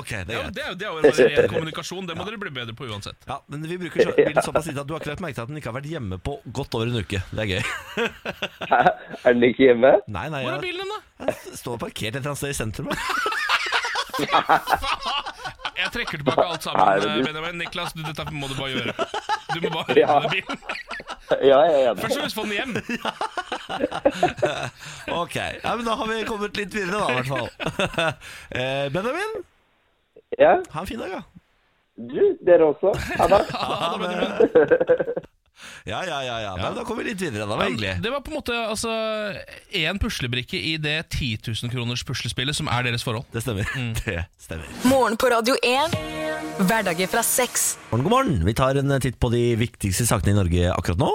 Speaker 1: Ok, det er
Speaker 2: Ja,
Speaker 1: greit.
Speaker 2: det er jo det er jo bare ren kommunikasjon. Det må dere bli bedre på uansett.
Speaker 1: Ja, men vi bruker
Speaker 4: [LAUGHS]
Speaker 1: så- bilen såpass lite at du har ikke lagt merke til at den ikke har vært hjemme på godt over en uke. Det er gøy.
Speaker 4: Hæ? Er den ikke hjemme?
Speaker 1: Nei, nei,
Speaker 2: Hvor er
Speaker 1: jeg,
Speaker 2: bilen din, da?
Speaker 1: jeg står parkert et eller annet sted i sentrum. jeg.
Speaker 2: Jeg trekker tilbake alt
Speaker 4: Nei,
Speaker 2: sammen, eh,
Speaker 4: det blir-
Speaker 2: Benjamin. Niklas, du, dette må du bare gjøre. Du må bare
Speaker 4: Ja.
Speaker 2: holde bilen.
Speaker 4: Ja, jeg er
Speaker 2: Først
Speaker 4: enig.
Speaker 2: og fremst få den hjem.
Speaker 1: Ok, ja, men da har vi kommet litt videre, da, i hvert fall. [LAUGHS] Eh, Benjamin,
Speaker 4: Ja,
Speaker 1: ha en fin dag, da.
Speaker 4: du, dere også. Ha det.
Speaker 1: Ja, ja, ja. ja. Nei, da kom vi litt videre. Da. Det var hyggelig.
Speaker 2: Det var på en måte altså én puslebrikke i det 10 000 kroners puslespillet som er deres forhold.
Speaker 1: Det stemmer. [LAUGHS] Det stemmer.
Speaker 3: Morgen på Radio 1. Hverdager fra seks.
Speaker 1: God morgen, god morgen. Vi tar en eh, titt på de viktigste sakene i Norge akkurat nå.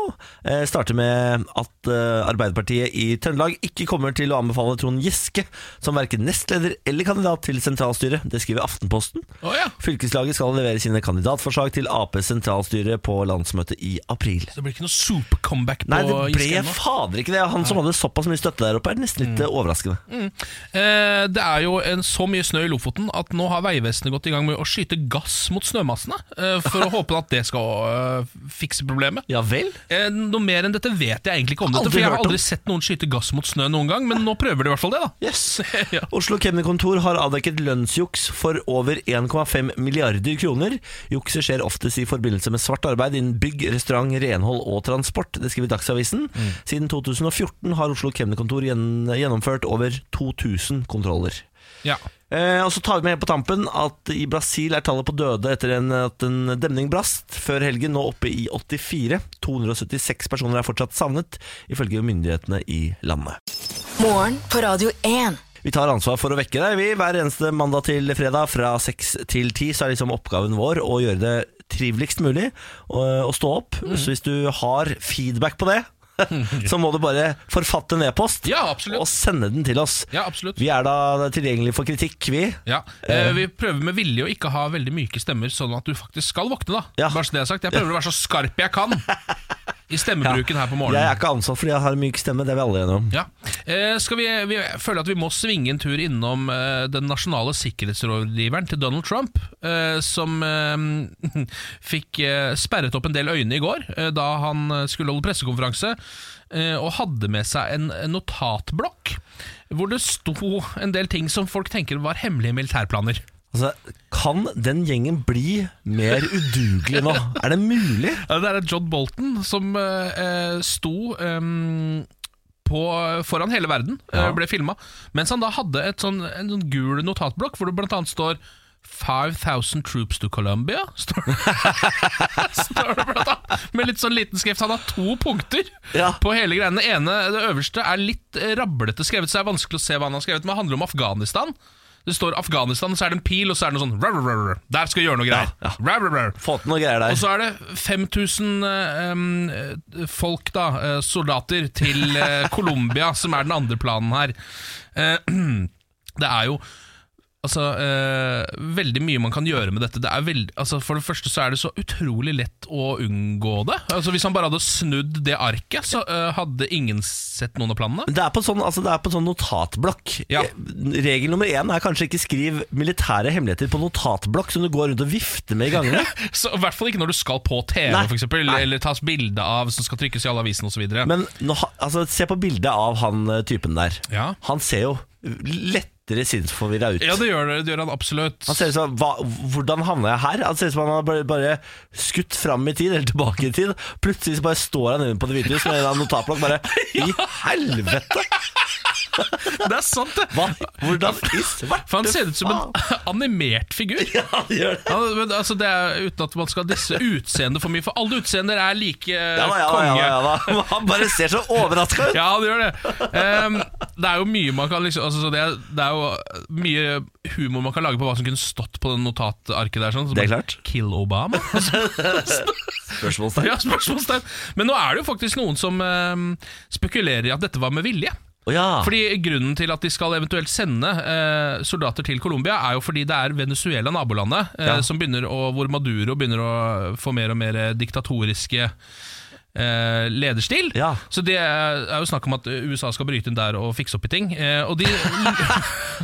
Speaker 1: Eh, starter med at eh, Arbeiderpartiet i Trøndelag ikke kommer til å anbefale Trond Giske som verken nestleder eller kandidat til sentralstyret. Det skriver Aftenposten.
Speaker 2: Å ja.
Speaker 1: Fylkeslaget skal levere sine kandidatforslag til Aps sentralstyre på landsmøtet i april.
Speaker 2: Så det blir ikke noe super-comeback på
Speaker 1: Nei, det ble
Speaker 2: Giske ennå.
Speaker 1: fader ikke det. Han som hadde såpass mye støtte der oppe, er nesten litt eh, overraskende.
Speaker 2: Eh, det er jo en, så mye snø i Lofoten at nå har Vegvesenet gått i gang med å skyte gass mot snømassene, eh, for
Speaker 1: [LAUGHS]
Speaker 2: å håpe at det skal eh, fikse problemet.
Speaker 1: Ja vel?
Speaker 2: Eh, Noe mer enn dette vet jeg egentlig ikke om dette,
Speaker 1: Aldri
Speaker 2: for jeg har
Speaker 1: hørt om.
Speaker 2: aldri sett noen skyte gass mot snø noen gang, men nå prøver de i hvert fall det, da.
Speaker 1: Yes.
Speaker 2: [LAUGHS] Ja.
Speaker 1: Oslo kemnerkontor har avdekket lønnsjuks for over 1,5 milliarder kroner. Jukset skjer oftest i forbindelse med svart arbeid innen bygg, restaurant, renhold og transport. Det skriver Dagsavisen. Siden 2014 har Oslo kemnerkontor gjenn- gjennomført over 2000 kontroller.
Speaker 2: Ja.
Speaker 1: Eh, og så tar vi med på tampen at i Brasil er tallet på døde etter en, at en demning brast før helgen nå oppe i 84. 276 personer er fortsatt savnet, ifølge myndighetene i landet.
Speaker 3: Morgen på Radio 1.
Speaker 1: Vi tar ansvar for å vekke deg, vi. Hver eneste mandag til fredag fra seks til ti, så er liksom oppgaven vår å gjøre det triveligst mulig og, og stå opp.
Speaker 2: Mm.
Speaker 1: Så hvis du har feedback på det, [LAUGHS] så må du bare forfatte en e-post
Speaker 2: Ja, absolutt.
Speaker 1: og sende den til oss.
Speaker 2: Ja, absolutt.
Speaker 1: Vi er da tilgjengelige for kritikk, vi.
Speaker 2: Ja. Eh, vi prøver med vilje å ikke ha veldig myke stemmer, sånn at du faktisk skal våkne, da.
Speaker 1: Ja.
Speaker 2: Bare så det er sagt. Jeg prøver å være så skarp jeg kan
Speaker 1: [LAUGHS]
Speaker 2: i stemmebruken her på
Speaker 1: Jeg er
Speaker 2: morgenen.
Speaker 1: ikke ansatt fordi jeg har en myk stemme, det er vi alle enige om.
Speaker 2: Ja. Eh, skal vi, vi føler at vi må svinge en tur innom eh, den nasjonale sikkerhetsrådgiveren til Donald Trump, eh, som eh, [LAUGHS] fikk eh, sperret opp en del øyne i går eh, da han eh, skulle holde pressekonferanse, eh, og hadde med seg en en notatblokk hvor det sto en del ting som folk tenker var hemmelige militærplaner.
Speaker 1: Altså, kan den gjengen bli mer udugelig
Speaker 2: [LAUGHS]
Speaker 1: nå? Er det mulig?
Speaker 2: Ja, Det er John Bolton som eh, eh, sto eh, på, foran hele verden, eh,
Speaker 1: Ja.
Speaker 2: ble filma, mens han da hadde et sånn, en sånn gul notatblokk hvor det blant annet står 5000 troops to Colombia, [LAUGHS] står det, står det blant annet. Med litt sånn liten skrift. Han har to punkter
Speaker 1: Ja.
Speaker 2: på hele greiene. Det ene, det øverste, er litt eh, rablete skrevet, så det er vanskelig å se hva han har skrevet, men det handler om Afghanistan. Det står Afghanistan, så er det en pil, og så er det noe sånn rar, rar, rar. Der skal vi gjøre noe greier.
Speaker 1: Ja,
Speaker 2: Rar, rar, rar.
Speaker 1: Få til noe greier der.
Speaker 2: Og så er det 5000 eh, em, eh, folk, da, eh, soldater, til
Speaker 1: [LAUGHS]
Speaker 2: [CLEARS THROAT] eh, Colombia, som er den andre planen her. Eh, det er jo altså, eh, veldig mye man kan gjøre med dette. Det er veld, altså, for det første så er det så utrolig lett å unngå det. Altså, hvis han bare hadde snudd det arket, så eh, hadde ingen sett noen av planene.
Speaker 1: Men Det er på en sånn, altså det er på en sånn notatblokk.
Speaker 2: Ja.
Speaker 1: Regel nummer én er kanskje ikke skriv militære hemmeligheter på notatblokk som du går rundt og vifter med i
Speaker 2: [LAUGHS]
Speaker 1: gangene.
Speaker 2: Så, I hvert fall ikke når du skal på TV,
Speaker 1: Nei.
Speaker 2: for eksempel,
Speaker 1: Nei.
Speaker 2: eller tas bilde av som skal trykkes i alle avisene osv.
Speaker 1: Men nå, ha- altså, se på bildet av han eh, typen der.
Speaker 2: Ja.
Speaker 1: Han ser jo lettere sinnsforvirra ut.
Speaker 2: Ja, det gjør, det gjør han absolutt.
Speaker 1: han ser ut som, hva, Hvordan havna jeg her? Han ser ut som han har bare, bare skutt fram i tid, eller tilbake i tid. Plutselig så bare står han inne på Det hvite hus med en eller annen notatblokk.
Speaker 2: [LAUGHS]
Speaker 1: Bare I helvete!
Speaker 2: Det er sant, det!
Speaker 1: Hva, hvordan i svarte
Speaker 2: For han ser ut som en [LAUGHS] animert figur.
Speaker 1: Ja, han [LAUGHS] gjør det.
Speaker 2: Ja, men altså det er Uten at man skal disse utseendet for mye, for alle utseender er like eh,
Speaker 1: Ja da, ja da,
Speaker 2: konge.
Speaker 1: ja da, ja da. Han bare ser så overraska ut.
Speaker 2: Ja, det gjør det. Ehm, det er jo mye man kan liksom altså, så det, er, det er jo eh, mye humor man kan lage på hva som kunne stått på den notatarket der. Sånn, som
Speaker 1: Det er
Speaker 2: bare,
Speaker 1: klart.
Speaker 2: Kill Obama? [LAUGHS]
Speaker 1: Spørsmålstegn.
Speaker 2: ja, spørsmålstegn. Men nå er det jo faktisk noen som ehm, spekulerer i at dette var med vilje.
Speaker 1: Å ja.
Speaker 2: Fordi Grunnen til at de skal eventuelt sende eh, soldater til Colombia, er jo fordi det er Venezuela, nabolandet, eh,
Speaker 1: Ja.
Speaker 2: som begynner å, hvor Maduro begynner å få mer og mer diktatoriske eh, lederstil.
Speaker 1: Ja.
Speaker 2: Så det er jo snakk om at USA skal bryte inn der og fikse opp i ting. Eh,
Speaker 1: [LAUGHS]
Speaker 2: og de,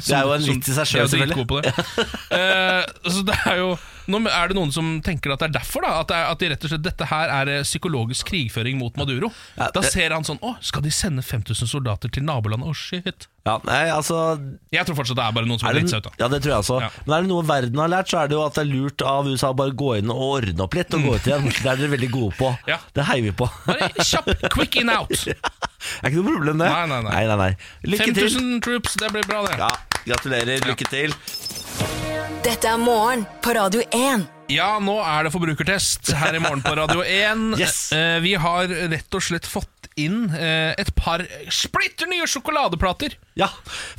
Speaker 1: Det er jo en vits i seg sjøl, selvfølgelig.
Speaker 2: [LAUGHS] Eh, så det er jo nå er det noen som tenker at det er derfor. da At, det er, at de rett og slett, dette her er eh, psykologisk krigføring mot Maduro.
Speaker 1: Ja,
Speaker 2: da
Speaker 1: det-
Speaker 2: ser han sånn Å, skal de sende 5000 soldater til nabolandet? Å, shit.
Speaker 1: Ja, nei, altså
Speaker 2: Jeg tror fortsatt det er bare noen som
Speaker 1: er
Speaker 2: har
Speaker 1: det,
Speaker 2: dritt seg ut. da
Speaker 1: ja, det tror jeg også.
Speaker 2: Ja.
Speaker 1: Men er det noe verden har lært, så er det jo at det er lurt av USA å bare gå inn og ordne opp litt, og gå ut igjen. Det er dere veldig gode på.
Speaker 2: Mm. Ja.
Speaker 1: Det heier vi på.
Speaker 2: Bare kjapp, quick in
Speaker 1: [LAUGHS]
Speaker 2: out!
Speaker 1: Er ikke noe problem, det.
Speaker 2: Nei, nei, nei.
Speaker 1: nei, nei. Lykke til.
Speaker 2: 5000 troops, det blir bra, det.
Speaker 1: Ja, gratulerer. Lykke til.
Speaker 3: Dette er morgen på Radio 1.
Speaker 2: Ja, nå er det forbrukertest her i morgen på Radio 1.
Speaker 1: [LAUGHS] Yes.
Speaker 2: Eh, Vi har rett og slett fått inn eh, et par splitter nye sjokoladeplater.
Speaker 1: Ja,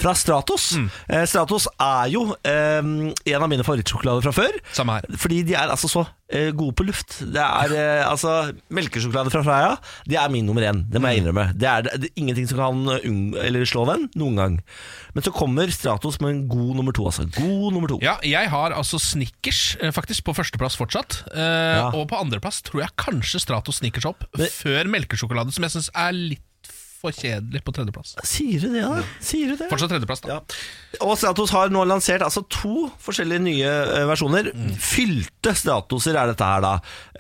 Speaker 1: fra Stratos.
Speaker 2: Mm.
Speaker 1: Eh, Stratos er jo eh, en av mine favorittsjokolader fra før.
Speaker 2: Samme her.
Speaker 1: Fordi de er altså så eh, gode på luft. Det er eh, altså Melkesjokolade fra Freia Det er min nummer én, det må jeg
Speaker 2: Mm.
Speaker 1: innrømme. Det er, det er ingenting som kan unng eller slå den noen gang. Men så kommer Stratos med en god nummer to, altså. God nummer to.
Speaker 2: Ja, jeg har altså Snickers eh, faktisk på førsteplass fortsatt. Eh,
Speaker 1: Ja.
Speaker 2: Og på andreplass tror jeg kanskje Stratos Snickers opp
Speaker 1: Men-
Speaker 2: før melkesjokolade, som jeg syns er litt for kjedelig på tredjeplass.
Speaker 1: Sier du det, da? Sier du det?
Speaker 2: Fortsatt tredjeplass, da.
Speaker 1: Ja. Og Stratos har nå lansert altså to forskjellige nye eh, versjoner. Fylte Stratoser er dette her, da.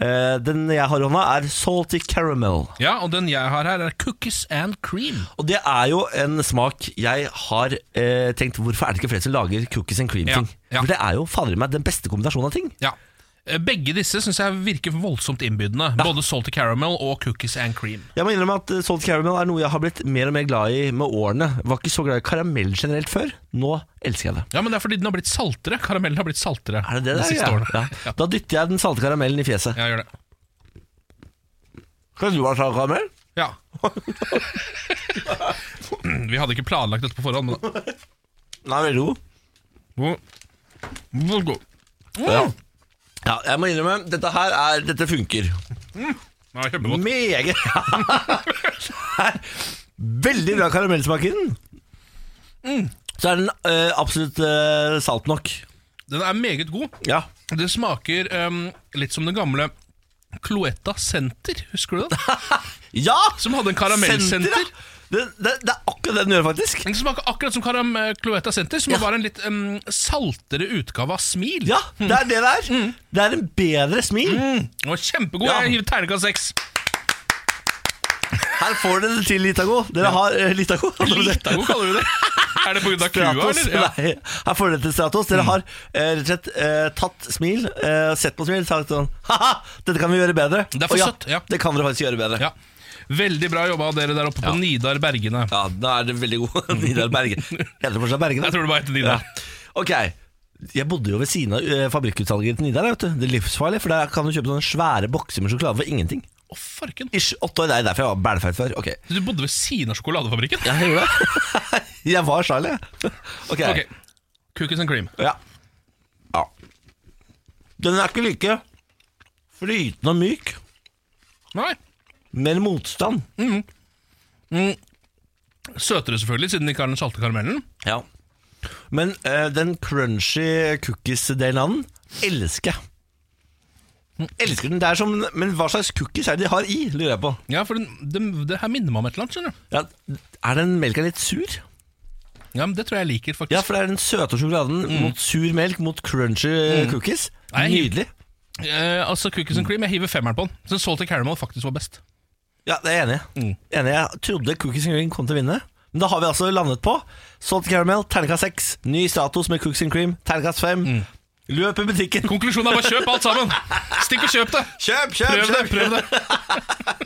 Speaker 1: Eh, den jeg har i hånda, er Salty Caramel.
Speaker 2: Ja, og den jeg har her er Cookies and Cream.
Speaker 1: Og det er jo en smak jeg har eh, tenkt Hvorfor er det ikke flere som lager cookies and cream-ting?
Speaker 2: Ja, ja.
Speaker 1: For det er jo fader i meg den beste kombinasjonen av ting.
Speaker 2: Ja. Eh, Begge disse syns jeg virker voldsomt innbydende. Både Salty Caramel og Cookies and Cream.
Speaker 1: Jeg må innrømme at eh, Salt Caramel er noe jeg har blitt mer og mer glad i med årene. Var ikke så glad i karamell generelt før. Nå elsker jeg det.
Speaker 2: Ja, men det er fordi den har blitt saltere. Karamellen har blitt saltere
Speaker 1: Er det det
Speaker 2: de
Speaker 1: der,
Speaker 2: siste
Speaker 1: ja?
Speaker 2: årene.
Speaker 1: Ja. Da dytter jeg den salte karamellen i fjeset.
Speaker 2: Ja, gjør det.
Speaker 1: Skal du ha salt karamell? [LAUGHS]
Speaker 2: Ja. [CLEARS THROAT] Vi hadde ikke planlagt dette på forhånd, men
Speaker 1: Nei, veldig god.
Speaker 2: Hvor- hvor god.
Speaker 1: Ja. ja, jeg må innrømme, dette her er Dette funker.
Speaker 2: Ja, kjempegodt.
Speaker 1: Meget [LAUGHS] Det er Veldig bra karamellsmak i den. Så er den eh, absolutt eh, salt nok.
Speaker 2: Den er meget god.
Speaker 1: Ja.
Speaker 2: Det smaker ehm, litt som den gamle Cloetta Senter, husker du
Speaker 1: [LAUGHS]
Speaker 2: det?
Speaker 1: ja!
Speaker 2: Som hadde en karamellsenter.
Speaker 1: Senter, ja. Det, det, det er akkurat det den gjør, faktisk.
Speaker 2: Den smaker akkurat som karam eh, Cloetta Senter, som var en litt ehm, saltere utgave av Smil. Hm.
Speaker 1: Ja, det er det det er. Det er en bedre smil.
Speaker 2: Den var kjempegod.
Speaker 1: Ja.
Speaker 2: Jeg gir terningkast seks.
Speaker 1: Her får dere det til, Litago. Dere har eh, Litago.
Speaker 2: Litago kaller
Speaker 1: [LAUGHS]
Speaker 2: vi det. Er det pga. kua,
Speaker 1: Stratos.
Speaker 2: eller? Ja. Mm.
Speaker 1: Nei, her får dere til Stratos. Dere har eh, rett og slett eh, tatt smil, eh, sett på smil, sagt sånn Ha-ha, dette kan vi gjøre bedre.
Speaker 2: Det er for
Speaker 1: Og
Speaker 2: søtt, ja.
Speaker 1: Det kan dere faktisk gjøre bedre.
Speaker 2: ja. Veldig bra jobba av dere der oppe på Nidar Bergene.
Speaker 1: Ja, da er det veldig [LAUGHS] god Nidar Bergen. Heter det fortsatt Bergen? da?
Speaker 2: Jeg tror det bare heter Nidar.
Speaker 1: Ok, jeg bodde jo ved siden av eh, fabrikkutsalget til Nidar. Vet du. Det er livsfarlig, for der kan du kjøpe sånne svære bokser med sjokolade for ingenting.
Speaker 2: Å, farken.
Speaker 1: Ish, åtte år, Det er derfor jeg var bælfeit før. Ok,
Speaker 2: Du bodde ved siden av sjokoladefabrikken?
Speaker 1: jeg gjorde det. jeg [LAUGHS] var Charlie. Ok.
Speaker 2: Ok. Cookies and cream.
Speaker 1: Ja. ja. Den er ikke like flytende og myk.
Speaker 2: Nei.
Speaker 1: Mer motstand.
Speaker 2: Søtere, selvfølgelig, siden den ikke har den salte karamellen.
Speaker 1: Ja. Men eh, den crunchy cookies-delen av den elsker jeg. Elsker den. Det er som, men hva slags cookies er det de har i, lurer jeg på.
Speaker 2: Ja, for den, den, Det her minner meg om et eller annet. skjønner du
Speaker 1: Ja, er den melka litt sur?
Speaker 2: Ja, men Det tror jeg jeg liker, faktisk.
Speaker 1: Ja, Mm. for det er den søte sjokoladen mot sur melk mot crunchy cookies.
Speaker 2: Nei,
Speaker 1: Nydelig.
Speaker 2: Eh, altså Cookies and cream, jeg hiver femmeren på den. Så Salty Caramel faktisk var best.
Speaker 1: Ja, det er jeg enig. i. enig. i. Jeg trodde Cookies and Cream kom til å vinne. Men da har vi altså landet på Salt Caramel, terningkast 6. Ny status med Cookies and Cream, terningkast 5. Løp i butikken!
Speaker 2: Konklusjonen er bare kjøp alt sammen! Stikk og kjøp det!
Speaker 1: Kjøp,
Speaker 2: Prøv det! prøv det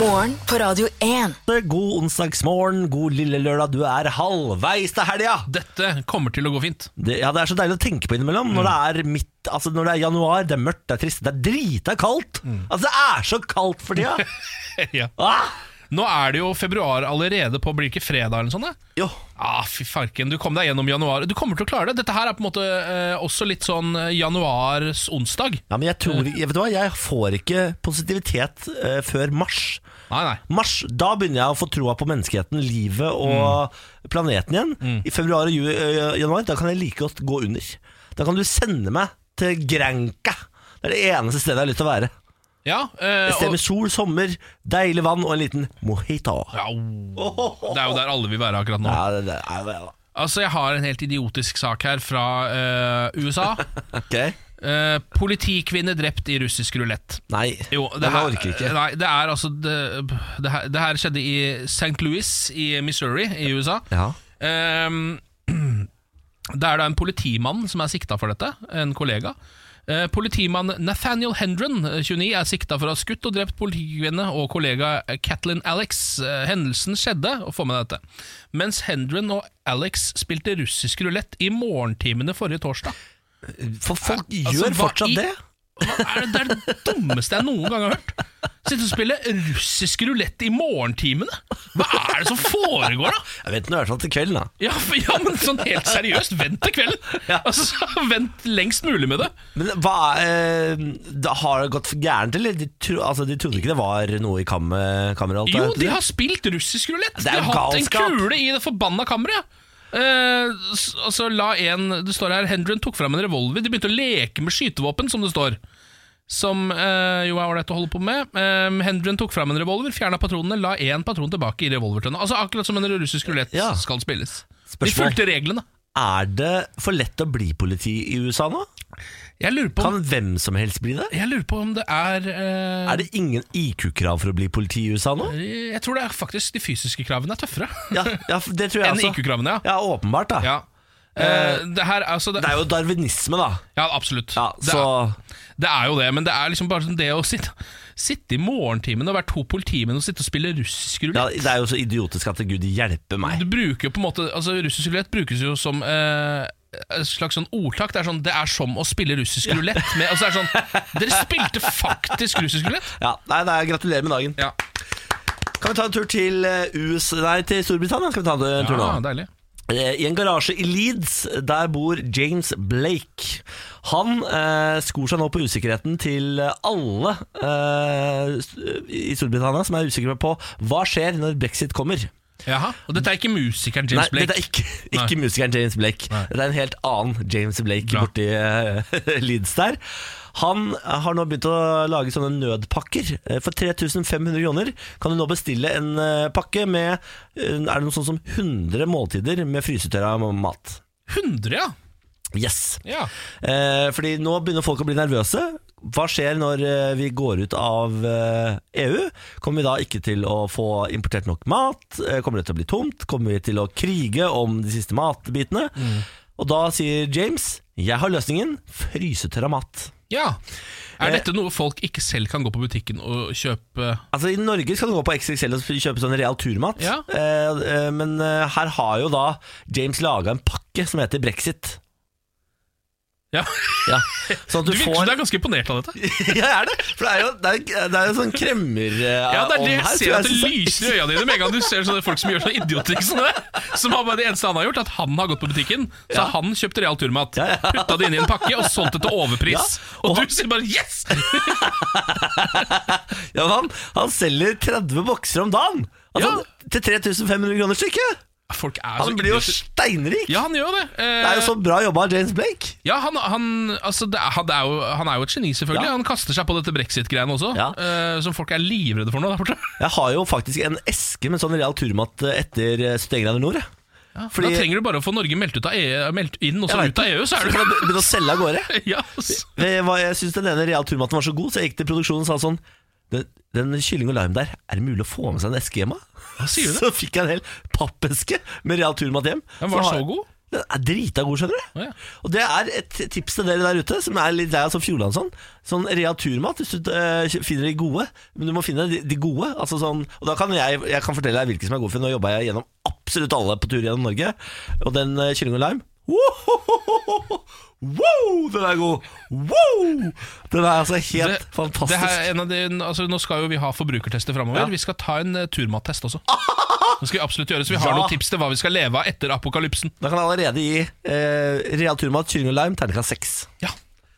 Speaker 3: Morgen på Radio 1.
Speaker 1: God onsdagsmorgen, god lille lørdag. Du er halvveis til helga!
Speaker 2: Dette kommer til å gå fint. [LAUGHS]
Speaker 1: Det, ja, det er så deilig å tenke på innimellom. Når, det er midt, altså når det er januar, det er mørkt, det er trist, det er drita kaldt. Altså, det er så kaldt for [LAUGHS] tida!
Speaker 2: ja.
Speaker 1: ah!
Speaker 2: Nå er det jo februar allerede på blir det ikke fredag eller noe sånt. da?
Speaker 1: Jo.
Speaker 2: Ah, fy farken, du kom deg gjennom januar. Du kommer til å klare det. Dette her er på en måte eh, også litt sånn eh, januars onsdag.
Speaker 1: Ja, men jeg tror jeg, Vet du hva, jeg får ikke positivitet eh, før mars.
Speaker 2: Nei, nei.
Speaker 1: Mars, Da begynner jeg å få troa på menneskeheten, livet og planeten igjen. I februar og ju- eh, januar da kan jeg like godt gå under. Da kan du sende meg til Granca. Det er det eneste stedet jeg har lyst til å være.
Speaker 2: Ja, eh,
Speaker 1: Et sted
Speaker 2: og,
Speaker 1: med sol, sommer, deilig vann og en liten mojito.
Speaker 2: ja, oh, det er jo der alle vil være akkurat nå.
Speaker 1: Ja, det, det er jo det, da.
Speaker 2: Altså, Jeg har en helt idiotisk sak her fra eh, USA.
Speaker 1: Ok.
Speaker 2: Eh, politikvinne drept i russisk rulett.
Speaker 1: Nei,
Speaker 2: Jo, det
Speaker 1: men
Speaker 2: her,
Speaker 1: jeg orker ikke.
Speaker 2: Nei, det er altså Det, det, her, det her skjedde i St. Louis i Missouri i USA.
Speaker 1: Ja.
Speaker 2: Ehm, [CLEARS THROAT] det er da en politimann som er sikta for dette, en kollega. Eh, Politimann Nathaniel Hendren, eh, 29, er sikta for å ha skutt og drept politikvinne og kollega Catlin Alex. Eh, Hendelsen skjedde, og få med deg dette, mens Hendren og Alex spilte russisk rulett i morgentimene forrige torsdag.
Speaker 1: For folk
Speaker 2: Altså,
Speaker 1: gjør
Speaker 2: hva
Speaker 1: fortsatt
Speaker 2: i-
Speaker 1: det.
Speaker 2: Hva er det, det er det dummeste jeg noen gang har hørt. Sitte og spille russisk rulett i morgentimene? Hva er det som foregår, da?
Speaker 1: Jeg vet nå i hvert fall til kvelden, da.
Speaker 2: Ja, for, ja, men sånn helt seriøst, vent til kvelden. Altså, Vent lengst mulig med det.
Speaker 1: Men hva eh, da Har det gått gærent, eller? De, tro, altså, de trodde ikke det var noe i kam kammeret?
Speaker 2: Jo, de har spilt russisk rulett.
Speaker 1: Det
Speaker 2: De
Speaker 1: er
Speaker 2: har
Speaker 1: jo
Speaker 2: hatt en
Speaker 1: galskap.
Speaker 2: kule i det forbanna kammeret. Eh, s- altså, la en Det står her Hendren tok fram en revolver. De begynte å leke med skytevåpen, som det står. Som eh, jo er ålreit å holde på med. Eh, Hendren tok fram en revolver, fjerna patronene, la én patron tilbake i revolvertønna. Altså Akkurat som en russisk rulett
Speaker 1: Ja.
Speaker 2: skal spilles.
Speaker 1: Spørsmål.
Speaker 2: De fulgte reglene.
Speaker 1: Er det for lett å bli politi i USA nå?
Speaker 2: Jeg lurer på om,
Speaker 1: Kan hvem som helst bli det?
Speaker 2: jeg lurer på om det er, eh,
Speaker 1: Er det ingen IQ-krav for å bli politi i USA nå?
Speaker 2: Jeg tror det er faktisk de fysiske kravene er tøffere
Speaker 1: Ja, ja det tror jeg
Speaker 2: enn
Speaker 1: også.
Speaker 2: IQ-kravene. ja,
Speaker 1: Ja, åpenbart, da.
Speaker 2: [LAUGHS] ja. Eh, det her, altså det,
Speaker 1: Det er jo darwinisme, da.
Speaker 2: Ja, absolutt.
Speaker 1: Ja,
Speaker 2: det,
Speaker 1: så
Speaker 2: er, det er jo det, men det er liksom bare sånn det å sitte, sitte i morgentimen og være to politimenn og sitte og spille russisk
Speaker 1: ja,
Speaker 2: rulett
Speaker 1: Det er jo så idiotisk at gud hjelpe meg.
Speaker 2: Du bruker jo på en måte Altså Russisk rulett brukes jo som eh, et slags sånn ordtak. Det er sånn Det er som å spille russisk rulett. Med, altså det er sånn Dere spilte faktisk russisk rulett!
Speaker 1: Ja, nei, nei, Gratulerer med dagen.
Speaker 2: Ja,
Speaker 1: Kan vi ta en tur til eh, US, nei, til Storbritannia? Skal vi ta en tur nå?
Speaker 2: ja deilig.
Speaker 1: Eh, I en garasje i Leeds, der bor James Blake. Han eh, skor seg nå på usikkerheten til alle eh, s- i Storbritannia som er usikre på hva skjer når brexit kommer.
Speaker 2: Jaha. Og dette er ikke musikeren
Speaker 1: Nei,
Speaker 2: James Blake.
Speaker 1: dette er ikke, ikke musikeren James Blake. Dette er en helt annen James Blake
Speaker 2: Bra.
Speaker 1: borti eh, [LAUGHS] Leeds der. Han har nå begynt å lage sånne nødpakker. Eh, For 3500 kroner kan du nå bestille en eh, pakke med eh, Er det noe sånt som 100 måltider med frysetørra mat.
Speaker 2: 100, ja.
Speaker 1: Yes.
Speaker 2: ja.
Speaker 1: Eh, fordi nå begynner folk å bli nervøse. Hva skjer når eh, vi går ut av eh, EU? Kommer vi da ikke til å få importert nok mat? Eh, Kommer det til å bli tomt? Kommer vi til å krige om de siste matbitene? Og da sier James jeg har løsningen frysetørra mat.
Speaker 2: Ja. Er
Speaker 1: Eh,
Speaker 2: dette noe folk ikke selv kan gå på butikken og kjøpe
Speaker 1: Altså I Norge skal du gå på XXL og kjøpe sånn real turmat,
Speaker 2: Ja.
Speaker 1: eh, eh, men eh, her har jo da James laga en pakke som heter brexit.
Speaker 2: Ja. [LAUGHS]
Speaker 1: Ja. Sånn at
Speaker 2: Du
Speaker 1: du,
Speaker 2: virker som
Speaker 1: får
Speaker 2: du er ganske imponert av dette.
Speaker 1: [LAUGHS] Ja, jeg er det. For det er jo, det er, det er jo sånn kremmer eh,
Speaker 2: Ja, det er det
Speaker 1: ånd her,
Speaker 2: jeg
Speaker 1: så
Speaker 2: ser at det
Speaker 1: synes [LAUGHS]
Speaker 2: lyser i øya dine med en gang du ser sånne folk som gjør sånne idioting som det. Som har bare det eneste han har gjort, at han har gått på butikken, så har han kjøpt real turmat. Putta det inn i en pakke og solgt det til
Speaker 1: Ja,
Speaker 2: overpris.
Speaker 1: og
Speaker 2: Og
Speaker 1: han-
Speaker 2: du sier bare 'yes'!
Speaker 1: Ja, men han, han selger 30 bokser om dagen. Altså,
Speaker 2: Ja.
Speaker 1: Til 3500 kroner stykket!
Speaker 2: Folk er
Speaker 1: Han
Speaker 2: så
Speaker 1: blir jo
Speaker 2: idiot-
Speaker 1: steinrik!
Speaker 2: Ja, han gjør det. Eh,
Speaker 1: Det er jo sånn- så bra jobba av James Blake.
Speaker 2: Ja, han, han, altså det er, han, er jo, han er jo et geni, selvfølgelig.
Speaker 1: Ja.
Speaker 2: Han kaster seg på dette brexit-greiene også,
Speaker 1: Ja.
Speaker 2: eh, som folk er livredde for nå der borte.
Speaker 1: Jeg har jo faktisk en eske med sånn real turmat etter eh, Støygrader Nord. jeg.
Speaker 2: da trenger du bare å få Norge meldt, ut av EU, meldt inn og så
Speaker 1: Jeg vet
Speaker 2: ut av
Speaker 1: det.
Speaker 2: EU, så er
Speaker 1: kan
Speaker 2: du
Speaker 1: jeg begynne å selge av gårde.
Speaker 2: [LAUGHS] ja, altså. ass.
Speaker 1: Jeg, var- jeg syns den ene real turmaten var så god, så jeg gikk til produksjonen og sa sånn den, den kylling og lime der, er det mulig å få med seg en eske hjem? Hva
Speaker 2: sier du
Speaker 1: [LAUGHS]
Speaker 2: det?
Speaker 1: Så fikk jeg en hel pappeske med real turmat hjem.
Speaker 2: Den var
Speaker 1: har-
Speaker 2: så god?
Speaker 1: Den er drita god, skjønner du.
Speaker 2: Å, ja.
Speaker 1: Og det er et tips til dere der ute, som er litt lei av sånn Fjordlandsson. Sånn real turmat, hvis du eh, finner de gode. Men du må finne de, de gode. Altså sånn, og da kan jeg, jeg kan fortelle deg hvilke som er gode, for nå jobba jeg gjennom absolutt alle på tur gjennom Norge. Og den eh, kylling og lime Wohohoho! Wow, den er god! Wow! Den er altså helt
Speaker 2: Det-
Speaker 1: fantastisk.
Speaker 2: Det her, er en av de, altså, nå skal jo vi ha forbrukertester
Speaker 1: Ja.
Speaker 2: framover. Vi skal ta en uh, turmattest
Speaker 1: [LAUGHS]
Speaker 2: også. Det skal vi absolutt gjøre, så vi
Speaker 1: Ja.
Speaker 2: har noen tips til hva vi skal leve av etter apokalypsen.
Speaker 1: Da kan jeg allerede gi eh, real turmat, kylling og lime terningkast seks.
Speaker 2: Ja,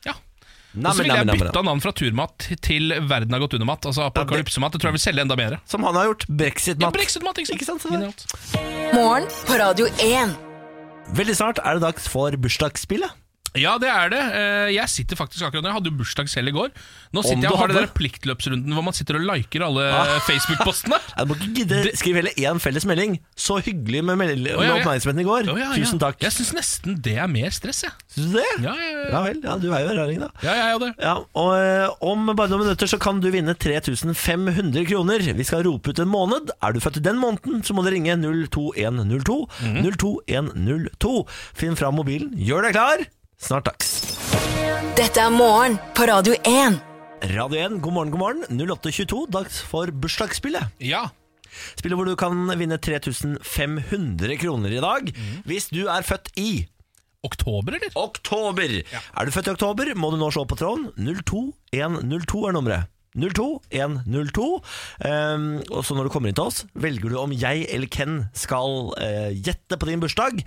Speaker 2: ja
Speaker 1: Nei,
Speaker 2: Og
Speaker 1: men,
Speaker 2: så ville
Speaker 1: nei,
Speaker 2: jeg
Speaker 1: men, nei, men,
Speaker 2: bytta navn fra turmat til verden har gått under-mat. Altså apokalypsemat. Det tror jeg vil selge enda bedre.
Speaker 1: Som han har gjort. Brexit-mat.
Speaker 2: Ja, Brexit-mat, ikke sant?
Speaker 1: Ikke sant, så det-
Speaker 2: Genialt.
Speaker 3: Morgen på Radio 1.
Speaker 1: Veldig snart er det dags for bursdagsspillet.
Speaker 2: Ja, det er det. Eh, Jeg sitter faktisk akkurat nå. Jeg hadde jo bursdag selv i går. Nå
Speaker 1: Om
Speaker 2: sitter jeg
Speaker 1: du
Speaker 2: og har den
Speaker 1: hadde? Ah.
Speaker 2: der pliktløpsrunden hvor man sitter og liker alle
Speaker 1: [LAUGHS]
Speaker 2: Facebook-postene.
Speaker 1: Jeg må ikke gidde skrive hele én felles melding. Så hyggelig med, meld
Speaker 2: Å, ja,
Speaker 1: med
Speaker 2: ja.
Speaker 1: oppmerksomheten i går.
Speaker 2: Å, ja, ja.
Speaker 1: Tusen takk.
Speaker 2: Jeg syns nesten det er mer stress, jeg.
Speaker 1: Syns du det?
Speaker 2: Ja, ja, ja.
Speaker 1: vel. Ja, du er jo en raring, da.
Speaker 2: Ja, ja, ja, det.
Speaker 1: Ja, og eh, Om bare noen minutter så kan du vinne 3500 kroner. Vi skal rope ut en måned. Er du født i den måneden, så må du ringe 02102.
Speaker 2: Mhm.
Speaker 1: 02102. Finn fram mobilen. Gjør deg klar. Snart dags.
Speaker 3: Dette er morgen på Radio 1.
Speaker 1: Radio 1, god morgen, god morgen. 0822, dags for bursdagsspillet.
Speaker 2: Ja.
Speaker 1: Spillet hvor du kan vinne 3500 kroner i dag hvis du er født i
Speaker 2: Oktober, eller?
Speaker 1: oktober. Er du født i oktober, må du nå se på tråden. 02102 er nummeret. 02102. Um, og så når du kommer inn til oss, velger du om jeg eller Ken skal eh, gjette på din bursdag.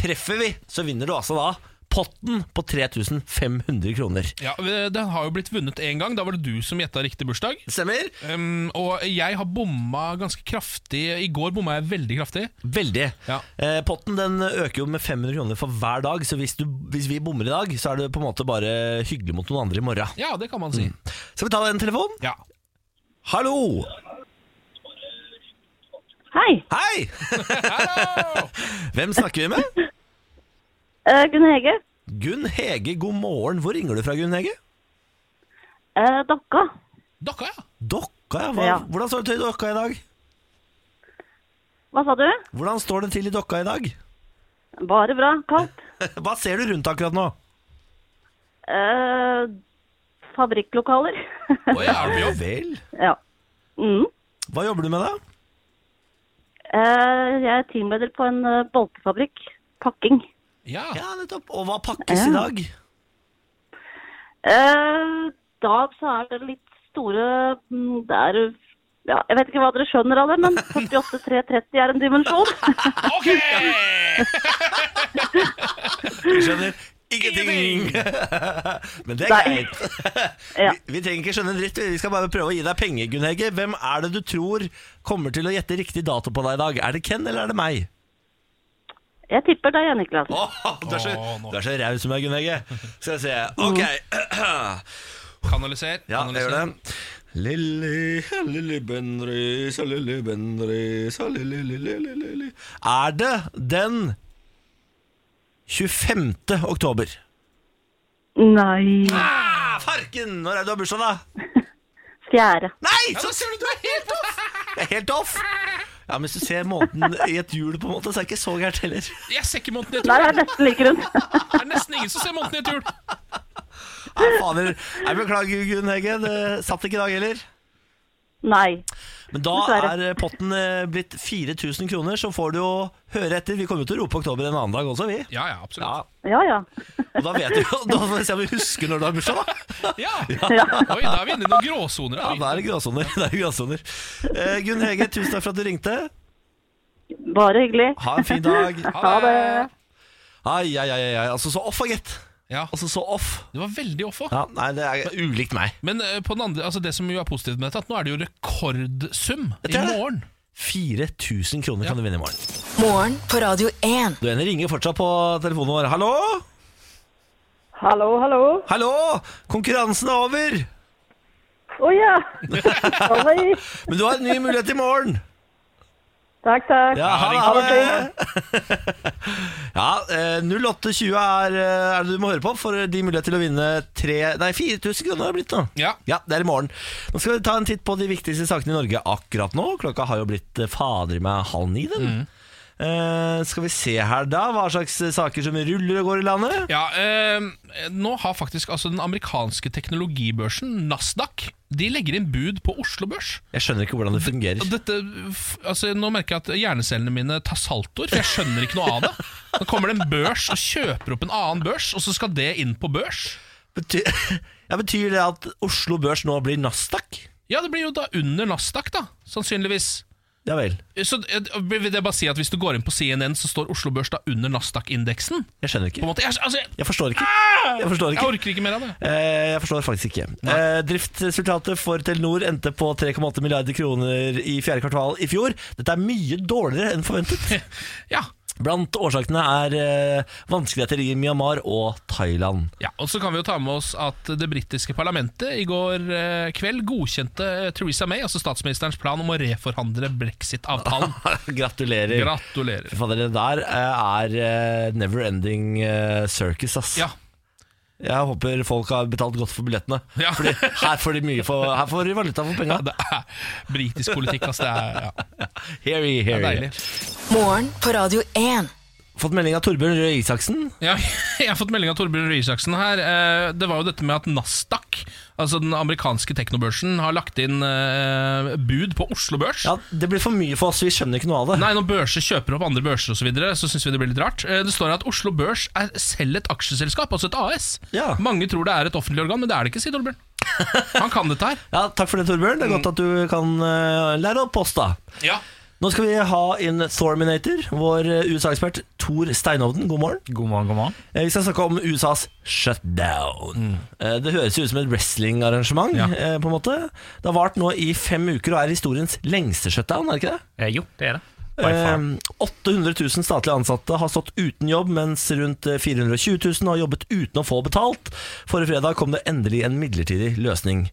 Speaker 1: Treffer vi, så vinner du altså da potten på 3500 kroner.
Speaker 2: Ja, Den har jo blitt vunnet én gang. Da var det du som gjetta riktig bursdag.
Speaker 1: Stemmer?
Speaker 2: Um, og jeg har bomma ganske kraftig. I går bomma jeg veldig kraftig.
Speaker 1: Veldig.
Speaker 2: Ja.
Speaker 1: Eh, potten den øker jo med 500 kroner for hver dag, så hvis, du, hvis vi bommer i dag, så er det på en måte bare hyggelig mot noen andre i morgen.
Speaker 2: Ja, det kan man si.
Speaker 1: Skal vi ta en telefon?
Speaker 2: Ja.
Speaker 1: Hallo!
Speaker 5: Hei,
Speaker 1: Hei! [LAUGHS] Hvem snakker vi med?
Speaker 5: eh, Gunn Hege.
Speaker 1: Gunn Hege, god morgen. Hvor ringer du fra, Gunn Hege?
Speaker 5: Eh, dokka.
Speaker 2: Dokka, ja.
Speaker 1: Dokka, ja. Hva,
Speaker 5: Ja.
Speaker 1: Hvordan står det til i Dokka i dag?
Speaker 5: Hva sa du?
Speaker 1: Hvordan står det til i Dokka i dag? [LAUGHS]
Speaker 5: Bare bra. Kaldt.
Speaker 1: Hva ser du rundt akkurat nå?
Speaker 5: Eh, fabrikklokaler. [LAUGHS]
Speaker 2: Oi, er du på jobb?
Speaker 1: Vel.
Speaker 5: ja. Mm.
Speaker 1: Hva jobber du med, da?
Speaker 5: Eh, jeg er teamleder på en eh, boltefabrikk. Pakking.
Speaker 2: Ja.
Speaker 1: Ja, nettopp. Og hva pakkes i
Speaker 5: Ja.
Speaker 1: dag?
Speaker 5: Eh, da så er det litt store mm, Det er ja, Jeg vet ikke hva dere skjønner av det, men 48-330 er en dimensjon.
Speaker 2: Ok!
Speaker 1: Vi skjønner ingenting! Men det er
Speaker 5: Nei.
Speaker 1: greit.
Speaker 5: [LAUGHS] Ja.
Speaker 1: Vi, vi trenger ikke skjønne en dritt, vi skal bare prøve å gi deg penger, Gunn Hege. Hvem er det du tror kommer til å gjette riktig dato på deg i dag? Er det Ken, eller er det meg?
Speaker 5: Jeg tipper deg, Jan Niklas.
Speaker 1: Åh, Mm. du er så,
Speaker 2: Åh, nå.
Speaker 1: du er så raus med meg, Gunn Hege. Skal vi se. Ok.
Speaker 2: Kanaliser.
Speaker 1: [CLEARS THROAT] Ja, jeg
Speaker 2: kanaliser.
Speaker 1: gjør det. Lilly, lilly Bendriss, lilly Bendriss, lilly, lilly, lilly, lilly. Er det den 25. oktober?
Speaker 5: Nei.
Speaker 1: Ah, farken! Når er det du har bursdag, da?
Speaker 5: Fjerde.
Speaker 1: Nei!
Speaker 2: Ja,
Speaker 1: Så
Speaker 2: da ser du, du er helt off!
Speaker 1: [LAUGHS] det er helt off! Ja, men hvis du ser måneden i et hjul, på en måte, så er det ikke så gærent heller.
Speaker 2: Jeg ser ikke måneden i et
Speaker 5: Nei,
Speaker 2: hjul.
Speaker 5: det er nesten like rundt. [LAUGHS]
Speaker 2: Det er nesten ingen som ser måneden i et hjul.
Speaker 1: Nei, fader. Jeg beklager, Gunn Hege. Det satt ikke i dag heller.
Speaker 5: Nei.
Speaker 1: Men da
Speaker 5: Dessverre.
Speaker 1: er potten eh, blitt 4000 kroner, så får du jo høre etter. Vi kommer jo til å rope oktober en annen dag også, vi.
Speaker 2: Ja, ja, absolutt.
Speaker 1: Ja,
Speaker 5: Ja, ja.
Speaker 1: Og da vet du jo Da får vi se om vi husker når du har bursdag, da.
Speaker 2: Ja. Oi, da er vi inne i noen gråsoner.
Speaker 1: Ja,
Speaker 2: her.
Speaker 1: da er det gråsoner. Det er gråsoner. Eh, Gunn Hege, tusen takk for at du ringte.
Speaker 5: Bare hyggelig.
Speaker 1: Ha en fin dag.
Speaker 5: Ha det.
Speaker 1: Ai, ai, ai, ai. Altså så off, gitt.
Speaker 2: Ja,
Speaker 1: Altså så off.
Speaker 2: det var veldig off òg.
Speaker 1: Ja, nei, det er ulikt meg.
Speaker 2: Men eh, på den andre, altså det som jo er positivt med dette, at nå er det jo rekordsum i
Speaker 1: er det.
Speaker 2: morgen.
Speaker 1: 4000 kroner kan du vinne i morgen.
Speaker 3: Morgen på Radio 1.
Speaker 1: Du Jenny, ringer fortsatt på telefonen vår. Hallo?
Speaker 6: Hallo, hallo.
Speaker 1: Hallo! Konkurransen er over!
Speaker 5: Oh,
Speaker 6: Å ja. Sorry.
Speaker 1: Men du har en ny mulighet i morgen.
Speaker 6: Takk, takk.
Speaker 1: Ja, ha
Speaker 6: Ha det fint.
Speaker 1: det! Ja, eh, 0820 er, eh, er det du må høre på for din mulighet til å vinne tre, nei, 4000 kroner har det blitt nå.
Speaker 2: Ja.
Speaker 1: Det er i morgen. Nå skal vi ta en titt på de viktigste sakene i Norge akkurat nå. Klokka har jo blitt eh, fader meg halv ni, den. Eh, skal vi se her, da. Hva slags eh, saker som ruller og går i landet?
Speaker 2: Ja, eh, Nå har faktisk altså den amerikanske teknologibørsen, Nasdaq, de legger inn bud på Oslo Børs.
Speaker 1: Jeg skjønner ikke hvordan det fungerer.
Speaker 2: Og dette, f- altså Nå merker jeg at hjernecellene mine tar saltoer, for jeg skjønner ikke noe av det. Nå kommer det en børs og kjøper opp en annen børs, og så skal det inn på børs.
Speaker 1: Betyr, [LAUGHS] ja, betyr det at Oslo Børs nå blir Nasdaq?
Speaker 2: Ja, det blir jo da under Nasdaq, da, sannsynligvis.
Speaker 1: Ja vel.
Speaker 2: Så eh, vil det bare si at Hvis du går inn på CNN, så står Oslo Børs da under Nasdaq-indeksen?
Speaker 1: Jeg skjønner
Speaker 2: På en
Speaker 1: ikke.
Speaker 2: måte, jeg, altså, jeg,
Speaker 1: Jeg forstår ikke. Jeg forstår
Speaker 2: jeg
Speaker 1: ikke.
Speaker 2: orker ikke mer av det.
Speaker 1: Eh, Jeg forstår faktisk ikke. Eh, Driftsresultatet for Telenor endte på 3,8 milliarder kroner i fjerde kvartal i fjor. Dette er mye dårligere enn forventet.
Speaker 2: Ja,
Speaker 1: Blant årsakene er eh, vanskeligheter i Myanmar og Thailand.
Speaker 2: Ja, og så kan vi jo ta med oss at det britiske parlamentet i går eh, kveld godkjente eh, Theresa May, altså statsministerens plan om å reforhandle [LAUGHS] brexit-avtalen.
Speaker 1: Gratulerer. Fy
Speaker 2: Gratulerer.
Speaker 1: Fader, det der eh, er eh, never ending eh, circus, ass.
Speaker 2: Ja,
Speaker 1: Jeg håper folk har betalt godt for billettene.
Speaker 2: Ja.
Speaker 1: Fordi her får de mye for, her får de valuta for penga.
Speaker 2: det er britisk politikk, altså. Det er, ja,
Speaker 1: Hairy,
Speaker 2: det er
Speaker 1: hairy.
Speaker 2: deilig.
Speaker 3: Morgen på Radio 1.
Speaker 1: Fått melding av Torbjørn Røe Isaksen.
Speaker 2: Ja, [LAUGHS] jeg har fått melding av Torbjørn Røe Isaksen her. Eh, Det var jo dette med at Nasdaq, altså den amerikanske teknobørsen, har lagt inn eh, bud på Oslo Børs.
Speaker 1: Ja, det blir for mye for oss, vi skjønner ikke noe av det.
Speaker 2: Nei, når børser kjøper opp andre børser og så, videre, så syns vi det blir litt rart. Eh, Det står at Oslo Børs er selv et aksjeselskap, altså et AS.
Speaker 1: Ja.
Speaker 2: Mange tror det er et offentlig organ, men det er det ikke, sier Torbjørn. Han kan dette her.
Speaker 1: Ja, Takk for det, Torbjørn. Det er
Speaker 2: Mm.
Speaker 1: godt at du kan eh, lære opp oss, da.
Speaker 2: Ja.
Speaker 1: Nå skal vi ha inn Thorminator, vår eh, USA-ekspert Tor Steinovden. God morgen.
Speaker 7: God morgen, god morgen. Mm.
Speaker 1: Eh, Vi skal snakke om USAs shutdown. Eh, Det høres jo ut som et wrestlingarrangement,
Speaker 7: Ja.
Speaker 1: eh, på en måte. Det har vart nå i fem uker og er historiens lengste shutdown, er det ikke det?
Speaker 7: Eh, jo, det er det. By
Speaker 1: Eh,
Speaker 7: far.
Speaker 1: 800 000 statlige ansatte har stått uten jobb, mens rundt eh, 420 000 har jobbet uten å få betalt. Forrige fredag kom det endelig en midlertidig løsning.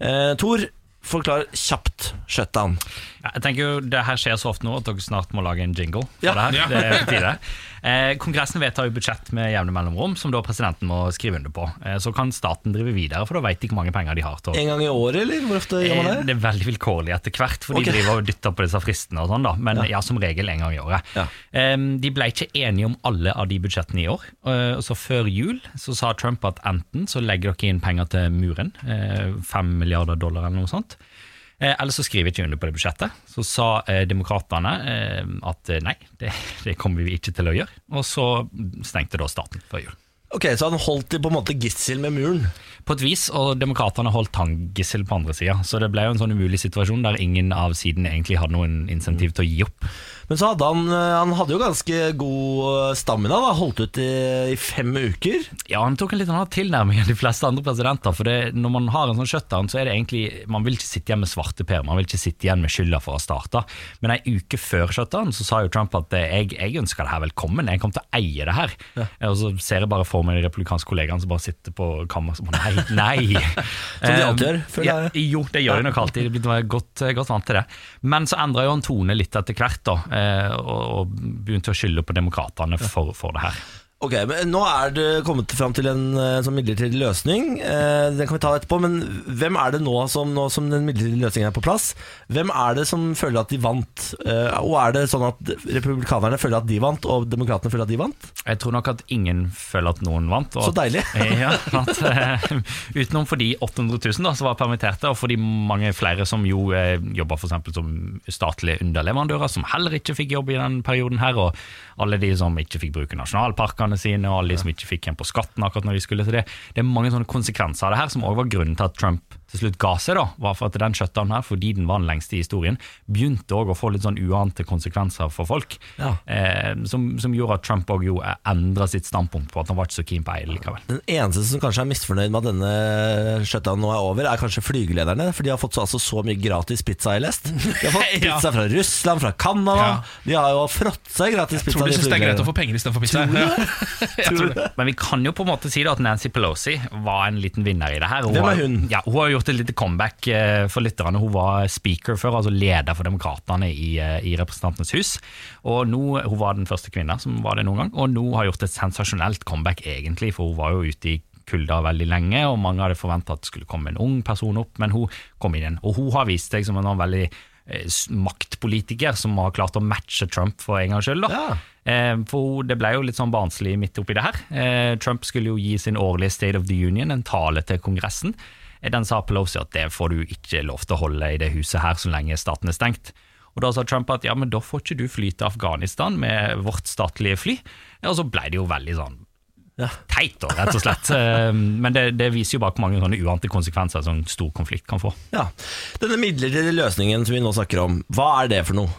Speaker 1: Eh, Tor, forklar kjapt shutdown.
Speaker 7: Ja, jeg tenker jo, Det her skjer så ofte nå at dere snart må lage en jingle. for
Speaker 1: Ja.
Speaker 7: Det her, det er på tide. Eh, Kongressen vedtar jo budsjett med jevne mellomrom, som da presidenten må skrive under på. Eh, så kan staten drive videre, for da vet de ikke hvor mange penger de har. til å-
Speaker 1: En gang i året, eller? Hvor ofte gjør
Speaker 7: Eh,
Speaker 1: man det?
Speaker 7: Det er veldig vilkårlig etter hvert, for
Speaker 1: Ok.
Speaker 7: de driver og dytter på disse fristene og sånn, da. Men ja, som regel en gang i året.
Speaker 1: Ja.
Speaker 7: Eh, De ble ikke enige om alle av de budsjettene i år. Eh, og Så før jul så sa Trump at enten så legger dere inn penger til muren, eh, fem milliarder dollar eller noe sånt. Eh, Eller så skriver ikke under på det budsjettet. Så sa eh, demokratene eh, at eh, nei, det, det kommer vi ikke til å gjøre. Og så stengte da staten før jul.
Speaker 1: Ok, Så han holdt i på en måte gissel med muren.
Speaker 7: På et vis, og demokratene holdt tangissel på andre sida. Så det ble jo en sånn umulig situasjon der ingen av sidene egentlig hadde noen insentiv til å gi opp.
Speaker 1: Men så hadde han, eh, han hadde jo ganske god eh, stamina. da, Holdt ut i, i fem uker.
Speaker 7: Ja, han tok en litt annen tilnærming enn de fleste andre presidenter. For det, når man har en sånn shutdown, så er det egentlig Man vil ikke sitte igjen med svarteper, man vil ikke sitte igjen med skylda for å ha starta. Men ei uke før shutdown så sa jo Trump at eh, jeg, jeg ønsker det her velkommen, jeg kommer til å eie det her. Og så ser jeg bare for meg de republikanske kollegaene som bare sitter på kammeret og bare nei, nei.
Speaker 1: [LAUGHS] Som de alltid gjør, føler jeg.
Speaker 7: Ja, jo, det gjør de nok alltid. De blir godt, eh, godt vant til det. Men så endra jo han tone litt etter hvert, da, eh, og, og begynte å skylde på demokratene for, for det her.
Speaker 1: Ok, men Nå er det kommet fram til en eh, sånn midlertidig løsning. Eh, den kan vi ta etterpå. Men hvem er det nå som, nå som den midlertidige løsningen er på plass? Hvem er det som føler at de vant? Eh, og er det sånn at republikanerne føler at de vant, og demokratene føler at de vant?
Speaker 7: Jeg tror nok at ingen føler at noen vant. og
Speaker 1: Så
Speaker 7: at-
Speaker 1: deilig.
Speaker 7: ja, at, eh, utenom for de 800 000 da, som var permitterte, og for de mange flere som jo eh, jobber for eksempel som statlige underleverandører, som heller ikke fikk jobb i den perioden her, og alle de som ikke fikk bruke nasjonalparkene sine, og alle de som ikke fikk igjen på skatten akkurat når de skulle til det. Det er mange sånne konsekvenser av det her, som også var grunnen til at Trump til slutt ga seg, da, var for at den shutdown her, fordi den var den lengste i historien, begynte òg å få litt sånn uante konsekvenser for folk.
Speaker 1: Ja.
Speaker 7: Eh, som, som gjorde at Trump òg jo endra sitt standpunkt på at han var ikke så keen på EU likevel.
Speaker 1: Den eneste som kanskje er misfornøyd med at denne shutdownen nå er over, er kanskje flygelederne. For de har fått så, altså, så mye gratis pizza, har jeg lest. De har fått
Speaker 2: [LAUGHS] Ja.
Speaker 1: pizza fra Russland, fra Canada.
Speaker 2: Ja.
Speaker 1: De har jo frått seg gratis pizza.
Speaker 2: Tror du
Speaker 1: de
Speaker 2: syns det er greit
Speaker 1: flygelederne.
Speaker 2: å få penger istedenfor pizza?
Speaker 1: Tror du det?
Speaker 7: Men vi kan jo på en måte si da at Nancy Pelosi var en liten vinner i det her.
Speaker 1: Hvem er
Speaker 7: har-
Speaker 1: hun?
Speaker 7: Ja, hun har gjort et lite comeback eh, for lytterne. Hun var speaker før, altså leder for Demokratene i, eh, i Representantenes hus. Og nå, Hun var den første kvinna som var det noen gang, og nå har gjort et sensasjonelt comeback, egentlig, for hun var jo ute i kulda veldig lenge, og mange hadde forventa at det skulle komme en ung person opp, men hun kom inn igjen. Og hun har vist seg som en veldig eh, s- maktpolitiker som har klart å matche Trump for en gangs skyld. da.
Speaker 1: Ja.
Speaker 7: Eh, For det ble jo litt sånn barnslig midt oppi det her. Eh, Trump skulle jo gi sin årlige State of the Union, en tale til Kongressen. Eh, Den sa Pelosi at det får du ikke lov til å holde i det huset her så lenge staten er stengt. Og Da sa Trump at ja, men da får ikke du fly til Afghanistan med vårt statlige fly. Ja, Og så ble det jo veldig sånn teit, da, rett og slett. Eh, Men det, det viser jo bare hvor mange sånne uante konsekvenser som en stor konflikt kan få.
Speaker 1: Ja. Denne midlertidige løsningen som vi nå snakker om, hva er det for noe?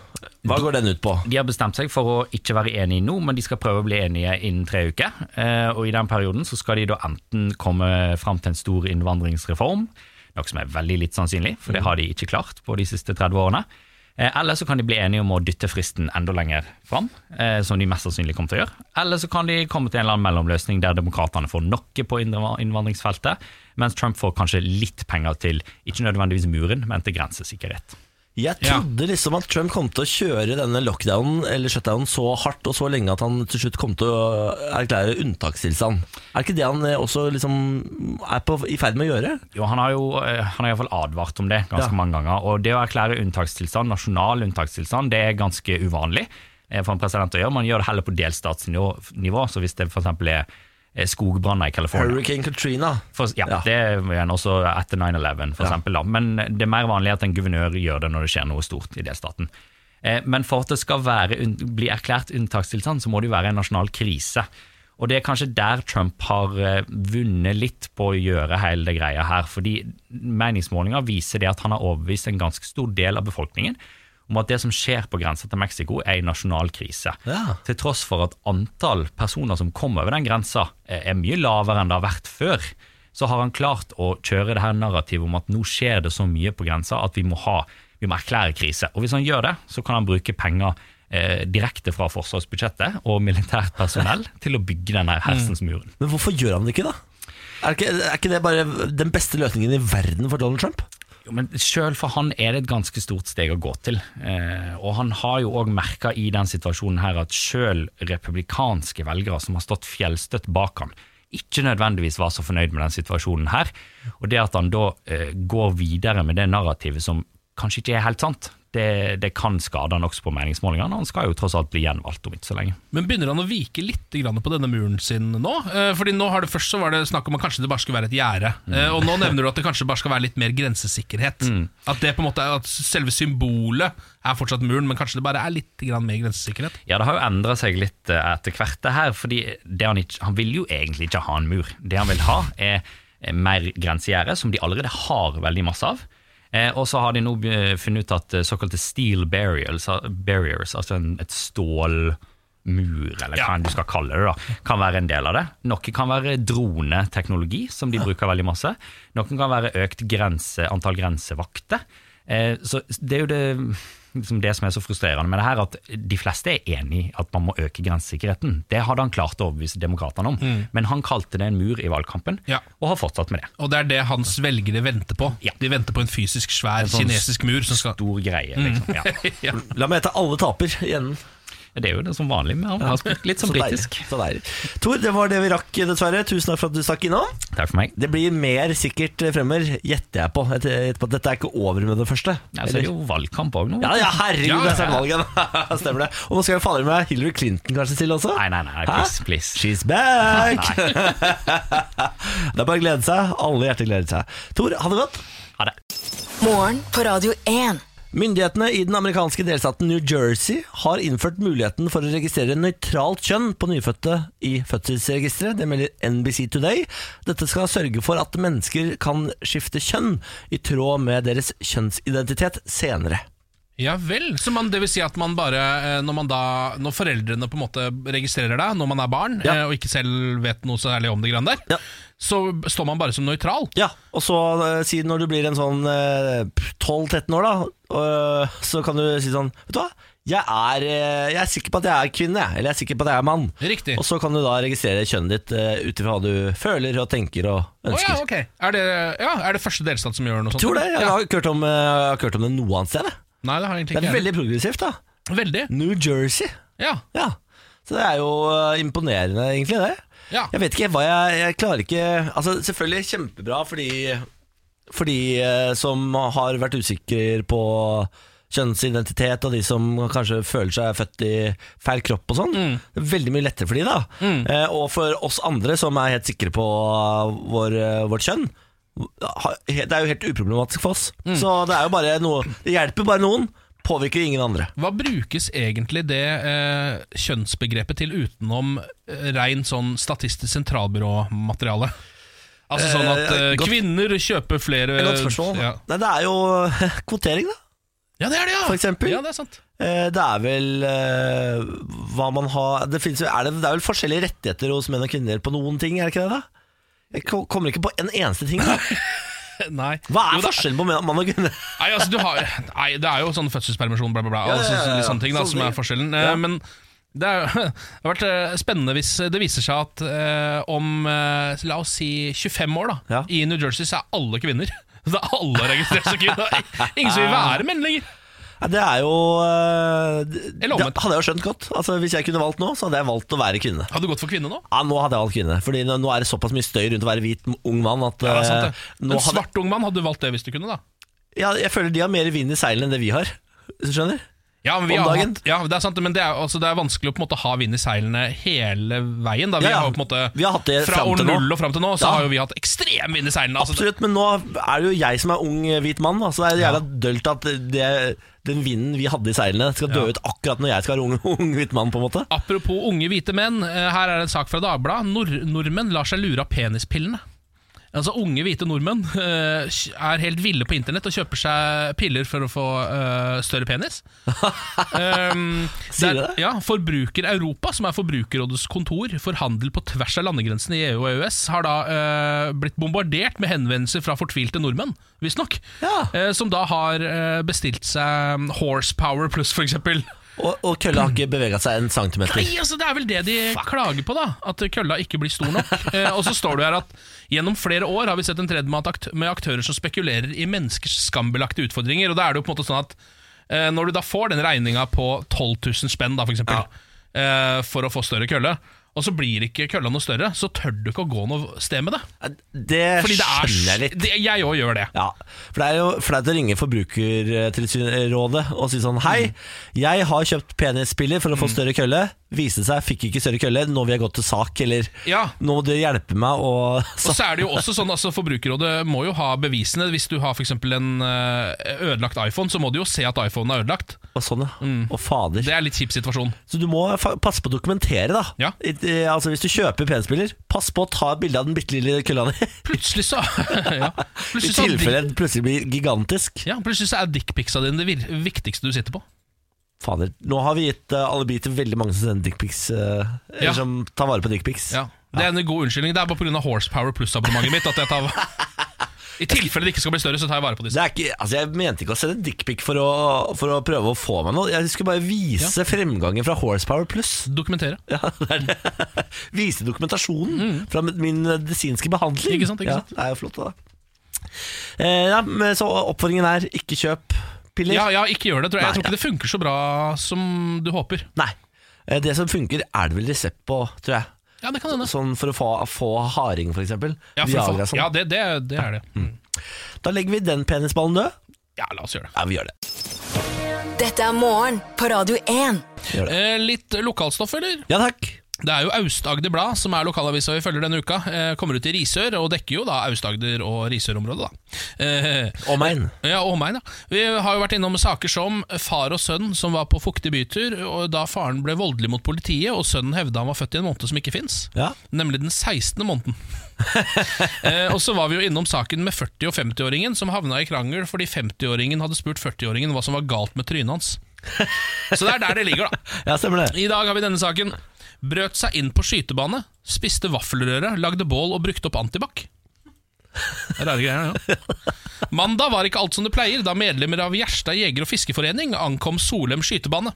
Speaker 1: Hva går den ut på?
Speaker 7: De har bestemt seg for å ikke være enige nå, men de skal prøve å bli enige innen tre uker. Eh, Og I den perioden så skal de da enten komme fram til en stor innvandringsreform, noe som er veldig litt sannsynlig, for det har de ikke klart på de siste 30 årene. Eh, Eller så kan de bli enige om å dytte fristen enda lenger fram, eh, som de mest sannsynlig kommer til å gjøre. Eller så kan de komme til en eller annen mellomløsning der demokratene får noe på innvandr- innvandringsfeltet, mens Trump får kanskje litt penger til, ikke nødvendigvis muren, men til grensesikkerhet.
Speaker 1: Jeg trodde liksom at Trump kom til å kjøre denne lockdownen eller shutdownen så hardt og så lenge at han til slutt kom til å erklære unntakstilstand. Er ikke det han eh, også liksom er på, i ferd med å gjøre?
Speaker 7: Jo, han har jo eh, han har i hvert fall advart om det ganske
Speaker 1: Ja.
Speaker 7: mange ganger. Og det å erklære unntakstilstand, nasjonal unntakstilstand, det er ganske uvanlig eh, for en president å gjøre. Man gjør det heller på delstatsnivå, nivå, så hvis det f.eks. er eh, skogbranner i California
Speaker 1: Hurricane Katrina.
Speaker 7: for, ja,
Speaker 1: Ja.
Speaker 7: det er jo igjen også etter 9-11, for
Speaker 1: Ja.
Speaker 7: eksempel. Da. Men det er mer vanlig at en guvernør gjør det når det skjer noe stort i delstaten. Eh, Men for at det skal være, unn- bli erklært unntakstilstand, så må det jo være en nasjonal krise. Og det er kanskje der Trump har eh, vunnet litt på å gjøre hele det greia her. Fordi meningsmålinger viser det at han har overbevist en ganske stor del av befolkningen om at det som skjer på grensa til Mexico er en nasjonal krise.
Speaker 1: Ja.
Speaker 7: Til tross for at antall personer som kommer over den grensa eh, er mye lavere enn det har vært før, så har han klart å kjøre det her narrativet om at nå skjer det så mye på grensa at vi må, ha, vi må erklære krise. Og hvis han gjør det, så kan han bruke penger eh, direkte fra forsvarsbudsjettet og militært personell til å bygge denne hersens muren.
Speaker 1: Men hvorfor gjør han det ikke, da? Er ikke, er ikke det bare den beste løsningen i verden for Donald Trump?
Speaker 7: Jo, men Selv for han er det et ganske stort steg å gå til. Eh, og han har jo òg merka i den situasjonen her at selv republikanske velgere som har stått fjellstøtt bak han, ikke nødvendigvis var så fornøyd med den situasjonen her. Og det at han da eh, går videre med det narrativet som kanskje ikke er helt sant, det, det kan skade han også på meningsmålingene. og Han skal jo tross alt bli gjenvalgt om ikke så lenge.
Speaker 2: Men begynner han å vike litt grann på denne muren sin nå? Eh, Fordi nå har det Først så var det snakk om at kanskje det bare skulle være et gjerde. Eh, Og nå nevner du at det kanskje bare skal være litt mer grensesikkerhet. At det på en måte er- at selve symbolet er fortsatt muren, men kanskje det bare er litt grann mer grensesikkerhet.
Speaker 7: Ja, det har jo endra seg litt eh, etter hvert, det her. fordi det han, ikke, han vil jo egentlig ikke ha en mur. Det han vil ha, er eh, mer grensegjerde, som de allerede har veldig masse av. Eh, og så har de nå eh, funnet ut at eh, såkalte steel barriers, barriers altså en, et stålmur, eller hva
Speaker 2: Ja.
Speaker 7: enn du skal kalle det, da, kan være en del av det. Noe kan være droneteknologi, som de bruker veldig masse. Noen kan være økt grense, antall grensevakter. Eh, så det er jo det, liksom det som er så frustrerende med det her, at de fleste er enig i at man må øke grensesikkerheten. Det hadde han klart å overbevise demokratene om, men han kalte det en mur i valgkampen,
Speaker 2: Ja.
Speaker 7: og har fortsatt med det.
Speaker 2: Og det er det hans velgere venter på.
Speaker 7: Ja.
Speaker 2: De venter på en fysisk svær
Speaker 7: sånn
Speaker 2: kinesisk mur som skal
Speaker 7: Stor greie, liksom. Ja.
Speaker 2: ja.
Speaker 1: La meg hete alle taper i enden.
Speaker 7: Det er jo det som vanlig med han. Litt som
Speaker 1: Så deilig,
Speaker 7: britisk.
Speaker 1: Så deilig. Tor, det var det vi rakk, dessverre. Tusen takk for at du stakk innom.
Speaker 7: Takk for meg.
Speaker 1: Det blir mer sikkert fremover, gjetter jeg på. Jeg gjetter på at Dette er ikke over med det første.
Speaker 7: Ja, så er det jo valgkamp òg nå.
Speaker 1: Ja, ja, herregud,
Speaker 2: Ja, ja,
Speaker 1: det er snart valget. [LAUGHS] Stemmer det. Og nå skal vi fader med Hillary Clinton kanskje til også?
Speaker 7: Nei, nei, nei,
Speaker 1: Hæ?
Speaker 7: please, please.
Speaker 1: She's back! [LAUGHS] det er bare å glede seg. Alle hjerter gleder seg. Tor, ha det godt.
Speaker 7: Ha det.
Speaker 3: Morgen på Radio 1.
Speaker 1: Myndighetene i den amerikanske delstaten New Jersey har innført muligheten for å registrere nøytralt kjønn på nyfødte i fødselsregisteret. Det melder NBC Today. Dette skal sørge for at mennesker kan skifte kjønn i tråd med deres kjønnsidentitet senere.
Speaker 2: Ja vel. Så man, det vil si at man bare, eh, når, man da, når foreldrene på en måte registrerer deg når man er barn,
Speaker 1: Ja.
Speaker 2: eh, og ikke selv vet noe særlig om det greiene der,
Speaker 1: Ja.
Speaker 2: så står man bare som nøytral.
Speaker 1: Ja, og så eh, si når du blir en sånn eh, 12-13 år da, og, eh, så kan du si sånn, vet du hva? Jeg er, eh, jeg er sikker på at jeg er kvinne, jeg, eller jeg er sikker på at jeg er mann.
Speaker 2: Riktig.
Speaker 1: Og så kan du da registrere kjønnet ditt uh, ut ifra hva du føler og tenker og
Speaker 2: Å ja,
Speaker 1: ønsker.
Speaker 2: ok. Er det, ja, er det første delstat som gjør noe sånt?
Speaker 1: Tror det, jeg
Speaker 2: Ja.
Speaker 1: har ikke hørt om, eh, jeg har ikke hørt om det noe annet sted. jeg.
Speaker 2: Nei, det har jeg egentlig
Speaker 1: Det
Speaker 2: ikke.
Speaker 1: er
Speaker 2: jeg.
Speaker 1: veldig progressivt da.
Speaker 2: veldig.
Speaker 1: New Jersey,
Speaker 2: Ja.
Speaker 1: ja. Så det er jo eh, imponerende egentlig det.
Speaker 2: Ja.
Speaker 1: Jeg vet ikke hva jeg, jeg klarer ikke Altså selvfølgelig kjempebra fordi For de eh, som har vært usikre på kjønnsidentitet Og de som kanskje føler seg født i feil kropp og sånn Det er veldig mye lettere for de da eh, Og for oss andre som er helt sikre på vår, eh, vårt kjønn ha- Det er jo helt uproblematisk for oss Så det er jo bare noe Det hjelper bare noen Påvirker ingen andre
Speaker 2: Hva brukes egentlig det eh, kjønnsbegrepet til utenom eh, rein sånn Statistisk sentralbyråmateriale? Altså sånn at eh,
Speaker 1: Eh, godt-
Speaker 2: kvinner kjøper flere
Speaker 1: Godt spørsmål
Speaker 2: Eh, Ja,
Speaker 1: Nei, det er jo [LAUGHS] kvotering da
Speaker 2: ja det er det, ja!
Speaker 1: For eksempel.
Speaker 2: Ja, det er sant. [LAUGHS]
Speaker 1: Eh, Det er vel eh, hva man har det, finnes, jo- er det, det er vel forskjellige rettigheter hos menn og kvinner på noen ting, er det ikke det? da? Jeg ko- kommer ikke på en eneste ting. da.
Speaker 2: Nei.
Speaker 1: Hva
Speaker 2: Jo,
Speaker 1: er
Speaker 2: det-
Speaker 1: forskjellen på menn mann og kvinne?
Speaker 2: Nei, altså, du har, nei, det er jo sånn fødselspermisjon, bla, bla, bla.
Speaker 1: Ja, ja,
Speaker 2: Altså,
Speaker 1: ja, ja.
Speaker 2: litt sånne ting da,
Speaker 1: Sånne
Speaker 2: som
Speaker 1: ting.
Speaker 2: er forskjellen. Eh,
Speaker 1: Ja.
Speaker 2: Men det, er, [LAUGHS] jo- det har vært eh, spennende hvis det viser seg at eh, om eh, la oss si 25 år da,
Speaker 1: Ja.
Speaker 2: i New Jersey så er alle kvinner. [LAUGHS] Så er alle registrert som kvinner.
Speaker 1: [LAUGHS]
Speaker 2: Ingen som vil være menn lenger.
Speaker 1: Nei, Det er jo eh, Det
Speaker 2: Eller omvendt.
Speaker 1: det hadde jeg jo skjønt godt. Altså, hvis jeg kunne valgt nå, så hadde jeg valgt å være kvinne.
Speaker 2: Har du gått for kvinne nå?
Speaker 1: Ja, Nå hadde jeg valgt kvinne, Fordi nå nå er det såpass mye støy rundt å være hvit ung mann at
Speaker 2: Ja, det er sant,
Speaker 1: eh,
Speaker 2: det.
Speaker 1: nå
Speaker 2: En
Speaker 1: hadde,
Speaker 2: svart ung mann hadde du valgt det hvis du kunne, da.
Speaker 1: ja, Jeg føler de har mer vind i seilene enn det vi har. Hvis du skjønner?
Speaker 2: Ja, men, vi
Speaker 1: Om
Speaker 2: har
Speaker 1: dagen.
Speaker 2: hatt, ja, det er sant, men det er, altså, det er vanskelig å på en måte ha vind i seilene hele veien. Da. Vi,
Speaker 1: Ja, ja.
Speaker 2: Har, jo på en måte,
Speaker 1: Vi har hatt det
Speaker 2: fra
Speaker 1: fram
Speaker 2: år
Speaker 1: til nå.
Speaker 2: null og fram til nå, så
Speaker 1: Ja.
Speaker 2: har jo vi hatt ekstrem vind i seilene. Altså,
Speaker 1: Absolutt, men nå er det jo jeg som er ung eh, hvit mann, da, så det er jævla dølt at det, den vinden vi hadde i seilene, skal dø
Speaker 2: Ja.
Speaker 1: ut akkurat når jeg skal være ung, [LAUGHS] ung hvit mann, på en måte.
Speaker 2: Apropos unge hvite menn, eh, her er det en sak fra Dagbladet. Nord nordmenn lar seg lure av penispillene. Altså Unge hvite nordmenn eh, er helt ville på internett og kjøper seg piller for å få eh,
Speaker 1: [LAUGHS]
Speaker 2: større penis. um,
Speaker 1: Sier du det?
Speaker 2: Ja, Forbruker Europa, som er Forbrukerrådets kontor for handel på tvers av landegrensene i EU og EØS, har da eh, blitt bombardert med henvendelser fra fortvilte nordmenn, visstnok.
Speaker 1: Ja.
Speaker 2: Eh, som da har eh, bestilt seg Horsepower pluss, for eksempel.
Speaker 1: Og, og kølla har ikke bevega seg en centimeter.
Speaker 2: Nei, altså Det er vel det de klager på, da. At kølla ikke blir stor
Speaker 1: [LAUGHS]
Speaker 2: nok. Eh, og så står det her at gjennom flere år har vi sett en trend med, at akt med aktører som spekulerer i menneskers skambelagte utfordringer. Og da er det jo på en måte sånn at eh, når du da får den regninga på 12 000 spenn, da, for eksempel, eh, for å få større kølle, og så blir ikke kølla noe større, så tør du ikke å gå noe sted med det.
Speaker 1: Det
Speaker 2: Fordi det er
Speaker 1: skjønner jeg litt.
Speaker 2: Det, jeg òg gjør det.
Speaker 1: Ja, for det er jo flaut å ringe Forbrukertilsynsrådet og si sånn Hei, jeg har kjøpt penispiller for å få større kølle. Viste seg, fikk ikke større kølle. Nå vil jeg gå til sak, eller
Speaker 2: Ja.
Speaker 1: nå må dere hjelpe meg å
Speaker 2: Og så er det jo også sånn, altså Forbrukerrådet må jo ha bevisene. Hvis du har for eksempel en eh, ødelagt iPhone, så må du jo se at iPhonen er ødelagt.
Speaker 1: [LAUGHS] Og sånn, ja. Å, fader.
Speaker 2: Det er litt kjip situasjon.
Speaker 1: Så du må fa- passe på å dokumentere, da.
Speaker 2: Ja.
Speaker 1: I, eh, altså Hvis du kjøper penispiller, pass på å ta et bilde av den bitte lille kølla di. [LAUGHS]
Speaker 2: Plutselig så [LAUGHS] ja.
Speaker 1: I
Speaker 2: Plutselig så er
Speaker 1: tilfelle den plutselig blir gigantisk.
Speaker 2: dick- ja, plutselig så er dickpicsa dine det vir- viktigste du sitter på.
Speaker 1: Fader, nå har vi gitt eh, alibi til veldig mange som sender dickpics, uh, eller
Speaker 2: Ja.
Speaker 1: som tar vare på dickpics.
Speaker 2: Ja. Det er en god unnskyldning. Det er bare pga. Horsepower Plus-abonnementet mitt at
Speaker 1: [LAUGHS]
Speaker 2: jeg tar I tilfelle det ikke skal bli større, så tar jeg vare på
Speaker 1: Det
Speaker 2: disse.
Speaker 1: er ikke, altså jeg mente ikke å sende dickpic for, å- for å prøve å få meg noe. Jeg skulle bare vise fremgangen fra Horsepower Plus.
Speaker 2: Dokumentere.
Speaker 1: Ja, det er det. [LAUGHS] Vise dokumentasjonen fra min medisinske behandling.
Speaker 2: Mm. Ikke sant, ikke sant.
Speaker 1: Ja, det er jo flott, det. da. Eh, ja, men så oppfordringen er ikke kjøp piller.
Speaker 2: Ja, ja, ikke gjør det. Tror jeg. jeg
Speaker 1: Nei,
Speaker 2: tror ikke det funker så bra som du håper.
Speaker 1: Nei. Eh, Det som funker, er det vel resept på, tror jeg.
Speaker 2: Ja, det kan hende.
Speaker 1: Sånn for å få, få harding, for eksempel.
Speaker 2: Ja, for
Speaker 1: Viagra,
Speaker 2: faen.
Speaker 1: sånn.
Speaker 2: ja det, det, det er det. Mm.
Speaker 1: Da legger vi den penisballen død.
Speaker 2: Ja, la oss gjøre det.
Speaker 1: Ja, vi gjør det.
Speaker 3: Dette er morgen på Radio 1.
Speaker 1: Vi gjør det.
Speaker 2: Eh, litt lokalstoff, eller?
Speaker 1: Ja takk.
Speaker 2: Det er jo Aust-Agder Blad som er lokalavisa vi følger denne uka. Eh, Kommer ut i Risør, og dekker jo da Aust-Agder og Risør-området, da. Eh,
Speaker 1: Omegn.
Speaker 2: Ja, og meg, da. Vi har jo vært innom saker som far og sønn som var på fuktig bytur, og da faren ble voldelig mot politiet, og sønnen hevda han var født i en måned som ikke fins.
Speaker 1: Ja.
Speaker 2: Nemlig den 16. måneden. eh, og så var vi jo innom saken med 40- og 50-åringen som havna i krangel fordi 50-åringen hadde spurt 40-åringen hva som var galt med trynet hans. Så det er der det ligger, da.
Speaker 1: Ja, stemmer det.
Speaker 2: I dag har vi denne saken. Brøt seg inn på skytebane, spiste vaffelrøre, lagde bål og brukte opp antibac. Det er Rare greier, det. ja. Mandag var ikke alt som det pleier, da medlemmer av Gjerstad jeger- og fiskeforening ankom Solheim skytebane.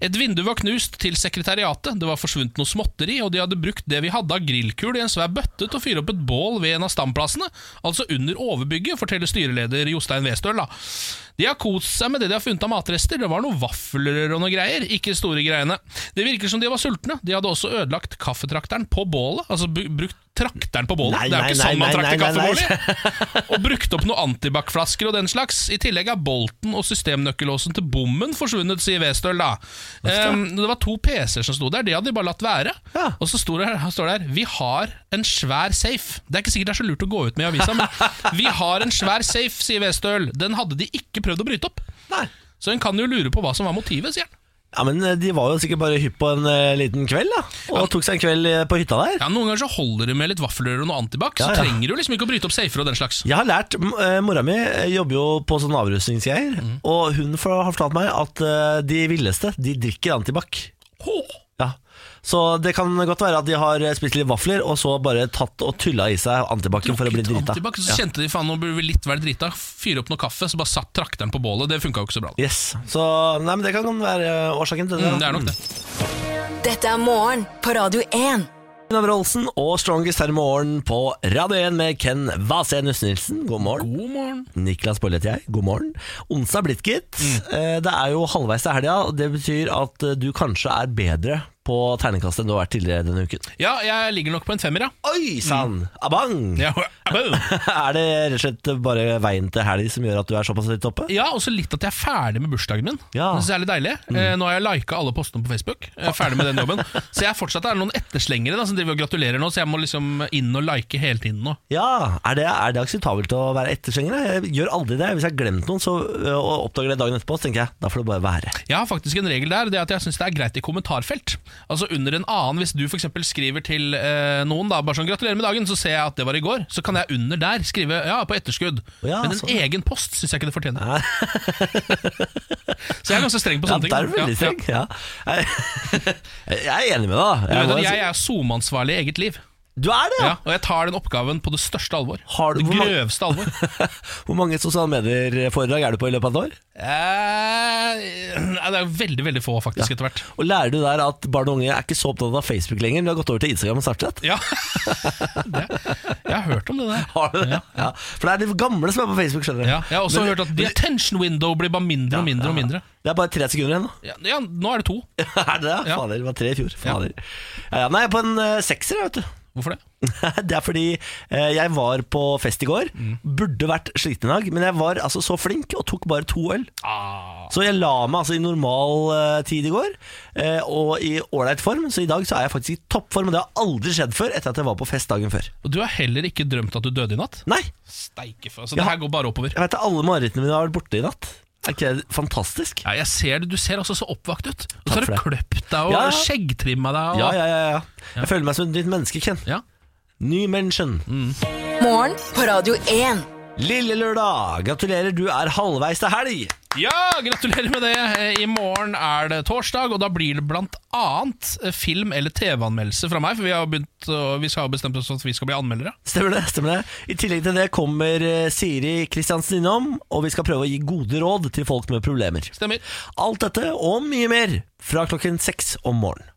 Speaker 2: Et vindu var knust til sekretariatet, det var forsvunnet noe småtteri, og de hadde brukt det vi hadde av grillkul i en svær bøtte til å fyre opp et bål ved en av stamplassene, altså under overbygget, forteller styreleder Jostein Westøl. da. De har kost seg med det de har funnet av matrester, det var noe vaffelrør og noe greier, ikke store greiene. Det virker som de var sultne, de hadde også ødelagt kaffetrakteren på bålet, altså bu- brukt trakteren på bålet,
Speaker 1: Nei,
Speaker 2: det er jo ikke
Speaker 1: nei,
Speaker 2: sånn man
Speaker 1: nei, nei,
Speaker 2: trakter
Speaker 1: nei, nei.
Speaker 2: kaffebålet [LAUGHS] og brukte opp noen antibac-flasker og den slags. I tillegg er bolten og systemnøkkelåsen til bommen forsvunnet, sier Westøl. da. Ehm, det var to PC-er som sto der, de hadde de bare latt være.
Speaker 1: Ja.
Speaker 2: Og så står det, her, står det her Vi har en svær safe. Det er ikke sikkert det er så lurt å gå ut med i
Speaker 1: [LAUGHS]
Speaker 2: avisa, men vi har en svær safe, sier Westøl. Den hadde de ikke prøvd å bryte opp.
Speaker 1: Nei.
Speaker 2: Så en kan jo lure på hva som var motivet, sier han.
Speaker 1: Ja, men eh, De var jo sikkert bare hypp på en eh, liten kveld, da. Og tok seg en kveld eh, på hytta der.
Speaker 2: Ja, Noen ganger så holder det med litt vaffelrør og noe antibac,
Speaker 1: Ja,
Speaker 2: så
Speaker 1: ja.
Speaker 2: trenger du liksom ikke å bryte opp safer og den slags.
Speaker 1: Jeg har lært, m- eh, Mora mi jobber jo på sånne avrusningsgreier,
Speaker 2: Mhm.
Speaker 1: og hun for- har fortalt meg at eh, de villeste de drikker antibac.
Speaker 2: Åh.
Speaker 1: Ja. Så det kan godt være at de har eh, spist litt vafler, og så bare tatt og tylla i seg antibac-en for å bli
Speaker 2: Litt
Speaker 1: drita.
Speaker 2: antibac, Så
Speaker 1: Ja.
Speaker 2: kjente de faen, nå burde vi litt være drita. Fyre opp noe kaffe, så bare satt trakteren på bålet. Det funka jo ikke så bra. da.
Speaker 1: Yes. Så nei, men det kan være eh, årsaken til det.
Speaker 2: Mm, det er nok det.
Speaker 3: Dette er morgen på Radio 1.
Speaker 1: Gunnar Olsen og Strongest her i morgen på Radio 1 med Ken Vasenus Nilsen. God morgen.
Speaker 2: God morgen.
Speaker 1: Niklas Bolle heter jeg. God morgen. Onsdag er blitt, gitt. Eh, Det er jo halvveis til helga, og det betyr at eh, du kanskje er bedre på terningkast enn du har vært tidligere denne uken.
Speaker 2: Ja, jeg ligger nok på en femmer, ja.
Speaker 1: Oi sann! Abang!
Speaker 2: Ja,
Speaker 1: [LAUGHS] Er det rett og slett bare veien til helg som gjør at du er såpass litt oppe?
Speaker 2: ja og så litt at jeg er ferdig med bursdagen min.
Speaker 1: Ja. Mm.
Speaker 2: Det synes jeg er litt deilig. Eh, Nå har jeg lika alle postene på Facebook. Jeg er ferdig med
Speaker 1: [LAUGHS]
Speaker 2: den jobben. Så jeg er fortsatt er det noen etterslengere da, som driver og gratulerer nå, så jeg må liksom inn og like hele tiden nå.
Speaker 1: Ja, er det, er det akseptabelt å være etterslenger? Jeg gjør aldri det. Hvis jeg har glemt noen så, ø, og oppdager det dagen etterpå, så tenker jeg da får det bare være.
Speaker 2: Jeg har faktisk en regel der, det er at jeg syns det er greit i kommentarfelt. Altså under en annen, hvis du for eksempel skriver til eh, noen da, bare sånn 'gratulerer med dagen', så ser jeg at det var i går. Så kan jeg under der skrive 'ja, på etterskudd'.
Speaker 1: Ja,
Speaker 2: Men en
Speaker 1: sånn, ja.
Speaker 2: egen post syns jeg ikke det fortjener. så jeg er ganske streng på
Speaker 1: Ja,
Speaker 2: sånne
Speaker 1: der er du
Speaker 2: ting.
Speaker 1: veldig streng. Ja. [LAUGHS] Jeg jeg er enig med deg. da.
Speaker 2: Du,
Speaker 1: Jeg
Speaker 2: vet
Speaker 1: må
Speaker 2: at
Speaker 1: si-
Speaker 2: jeg er SoMe-ansvarlig i eget liv,
Speaker 1: du er det,
Speaker 2: ja.
Speaker 1: ja!
Speaker 2: og jeg tar den oppgaven på det største alvor.
Speaker 1: Har du-
Speaker 2: det
Speaker 1: hvor mange-
Speaker 2: grøvste alvor.
Speaker 1: [LAUGHS] Hvor mange sosiale medier-foredrag er du på i løpet av et år?
Speaker 2: Eh, nei, det er veldig, veldig få, faktisk, etter hvert.
Speaker 1: Og Lærer du der at barn og unge er ikke så opptatt av Facebook lenger? Du har gått over til Instagram og Snapchat?
Speaker 2: Ja. [LAUGHS] det, jeg har hørt om det der.
Speaker 1: [LAUGHS] Har du det? Ja. For det er de gamle som er på Facebook, skjønner du.
Speaker 2: Ja, jeg har også
Speaker 1: Men-
Speaker 2: hørt at the attention window blir bare mindre og mindre. og mindre
Speaker 1: Det er bare tre sekunder igjen, da. [LAUGHS]
Speaker 2: ja, ja, Nå er det to.
Speaker 1: er det det?
Speaker 2: Ja.
Speaker 1: Fader, det var tre i fjor. Fader. Ja, ja, nei, jeg er på en ø, sekser, jeg, vet du.
Speaker 2: Hvorfor det?
Speaker 1: [LAUGHS] Det er fordi eh, jeg var på fest i går. Burde vært sliten i dag, men jeg var altså så flink og tok bare to øl. Så jeg la meg altså i normal eh, tid i går, eh, og i ålreit form. Så i dag så er jeg faktisk i toppform, og det har aldri skjedd før etter at jeg var på fest dagen før.
Speaker 2: Og Du har heller ikke drømt at du døde i natt?
Speaker 1: Nei,
Speaker 2: Steike for, altså,
Speaker 1: Ja.
Speaker 2: Det her går bare
Speaker 1: jeg
Speaker 2: oppover.
Speaker 1: vet at alle marerittene mine har vært borte i natt. Er ikke det fantastisk?
Speaker 2: Ja, jeg ser det, Du ser også så oppvakt ut.
Speaker 1: Takk
Speaker 2: Og så har du
Speaker 1: for
Speaker 2: kløpt deg og
Speaker 1: Ja, ja.
Speaker 2: skjeggtrimma deg. Og,
Speaker 1: Ja, ja, ja, ja. Jeg føler meg som et nytt menneske, Ken.
Speaker 2: Ja.
Speaker 1: Ny menneske.
Speaker 3: Morgen på Radio 1.
Speaker 1: Lille lørdag, gratulerer, du er halvveis til helg.
Speaker 2: Ja, gratulerer med det! Eh, I morgen er det torsdag, og da blir det blant annet eh, film- eller TV-anmeldelse fra meg. For vi har, begynt, å- vi skal ha bestemt oss for at vi skal bli anmeldere.
Speaker 1: Stemmer det, stemmer det. I tillegg til det kommer eh, Siri Kristiansen innom, og vi skal prøve å gi gode råd til folk med problemer.
Speaker 2: Stemmer.
Speaker 1: Alt dette og mye mer fra klokken seks om morgenen.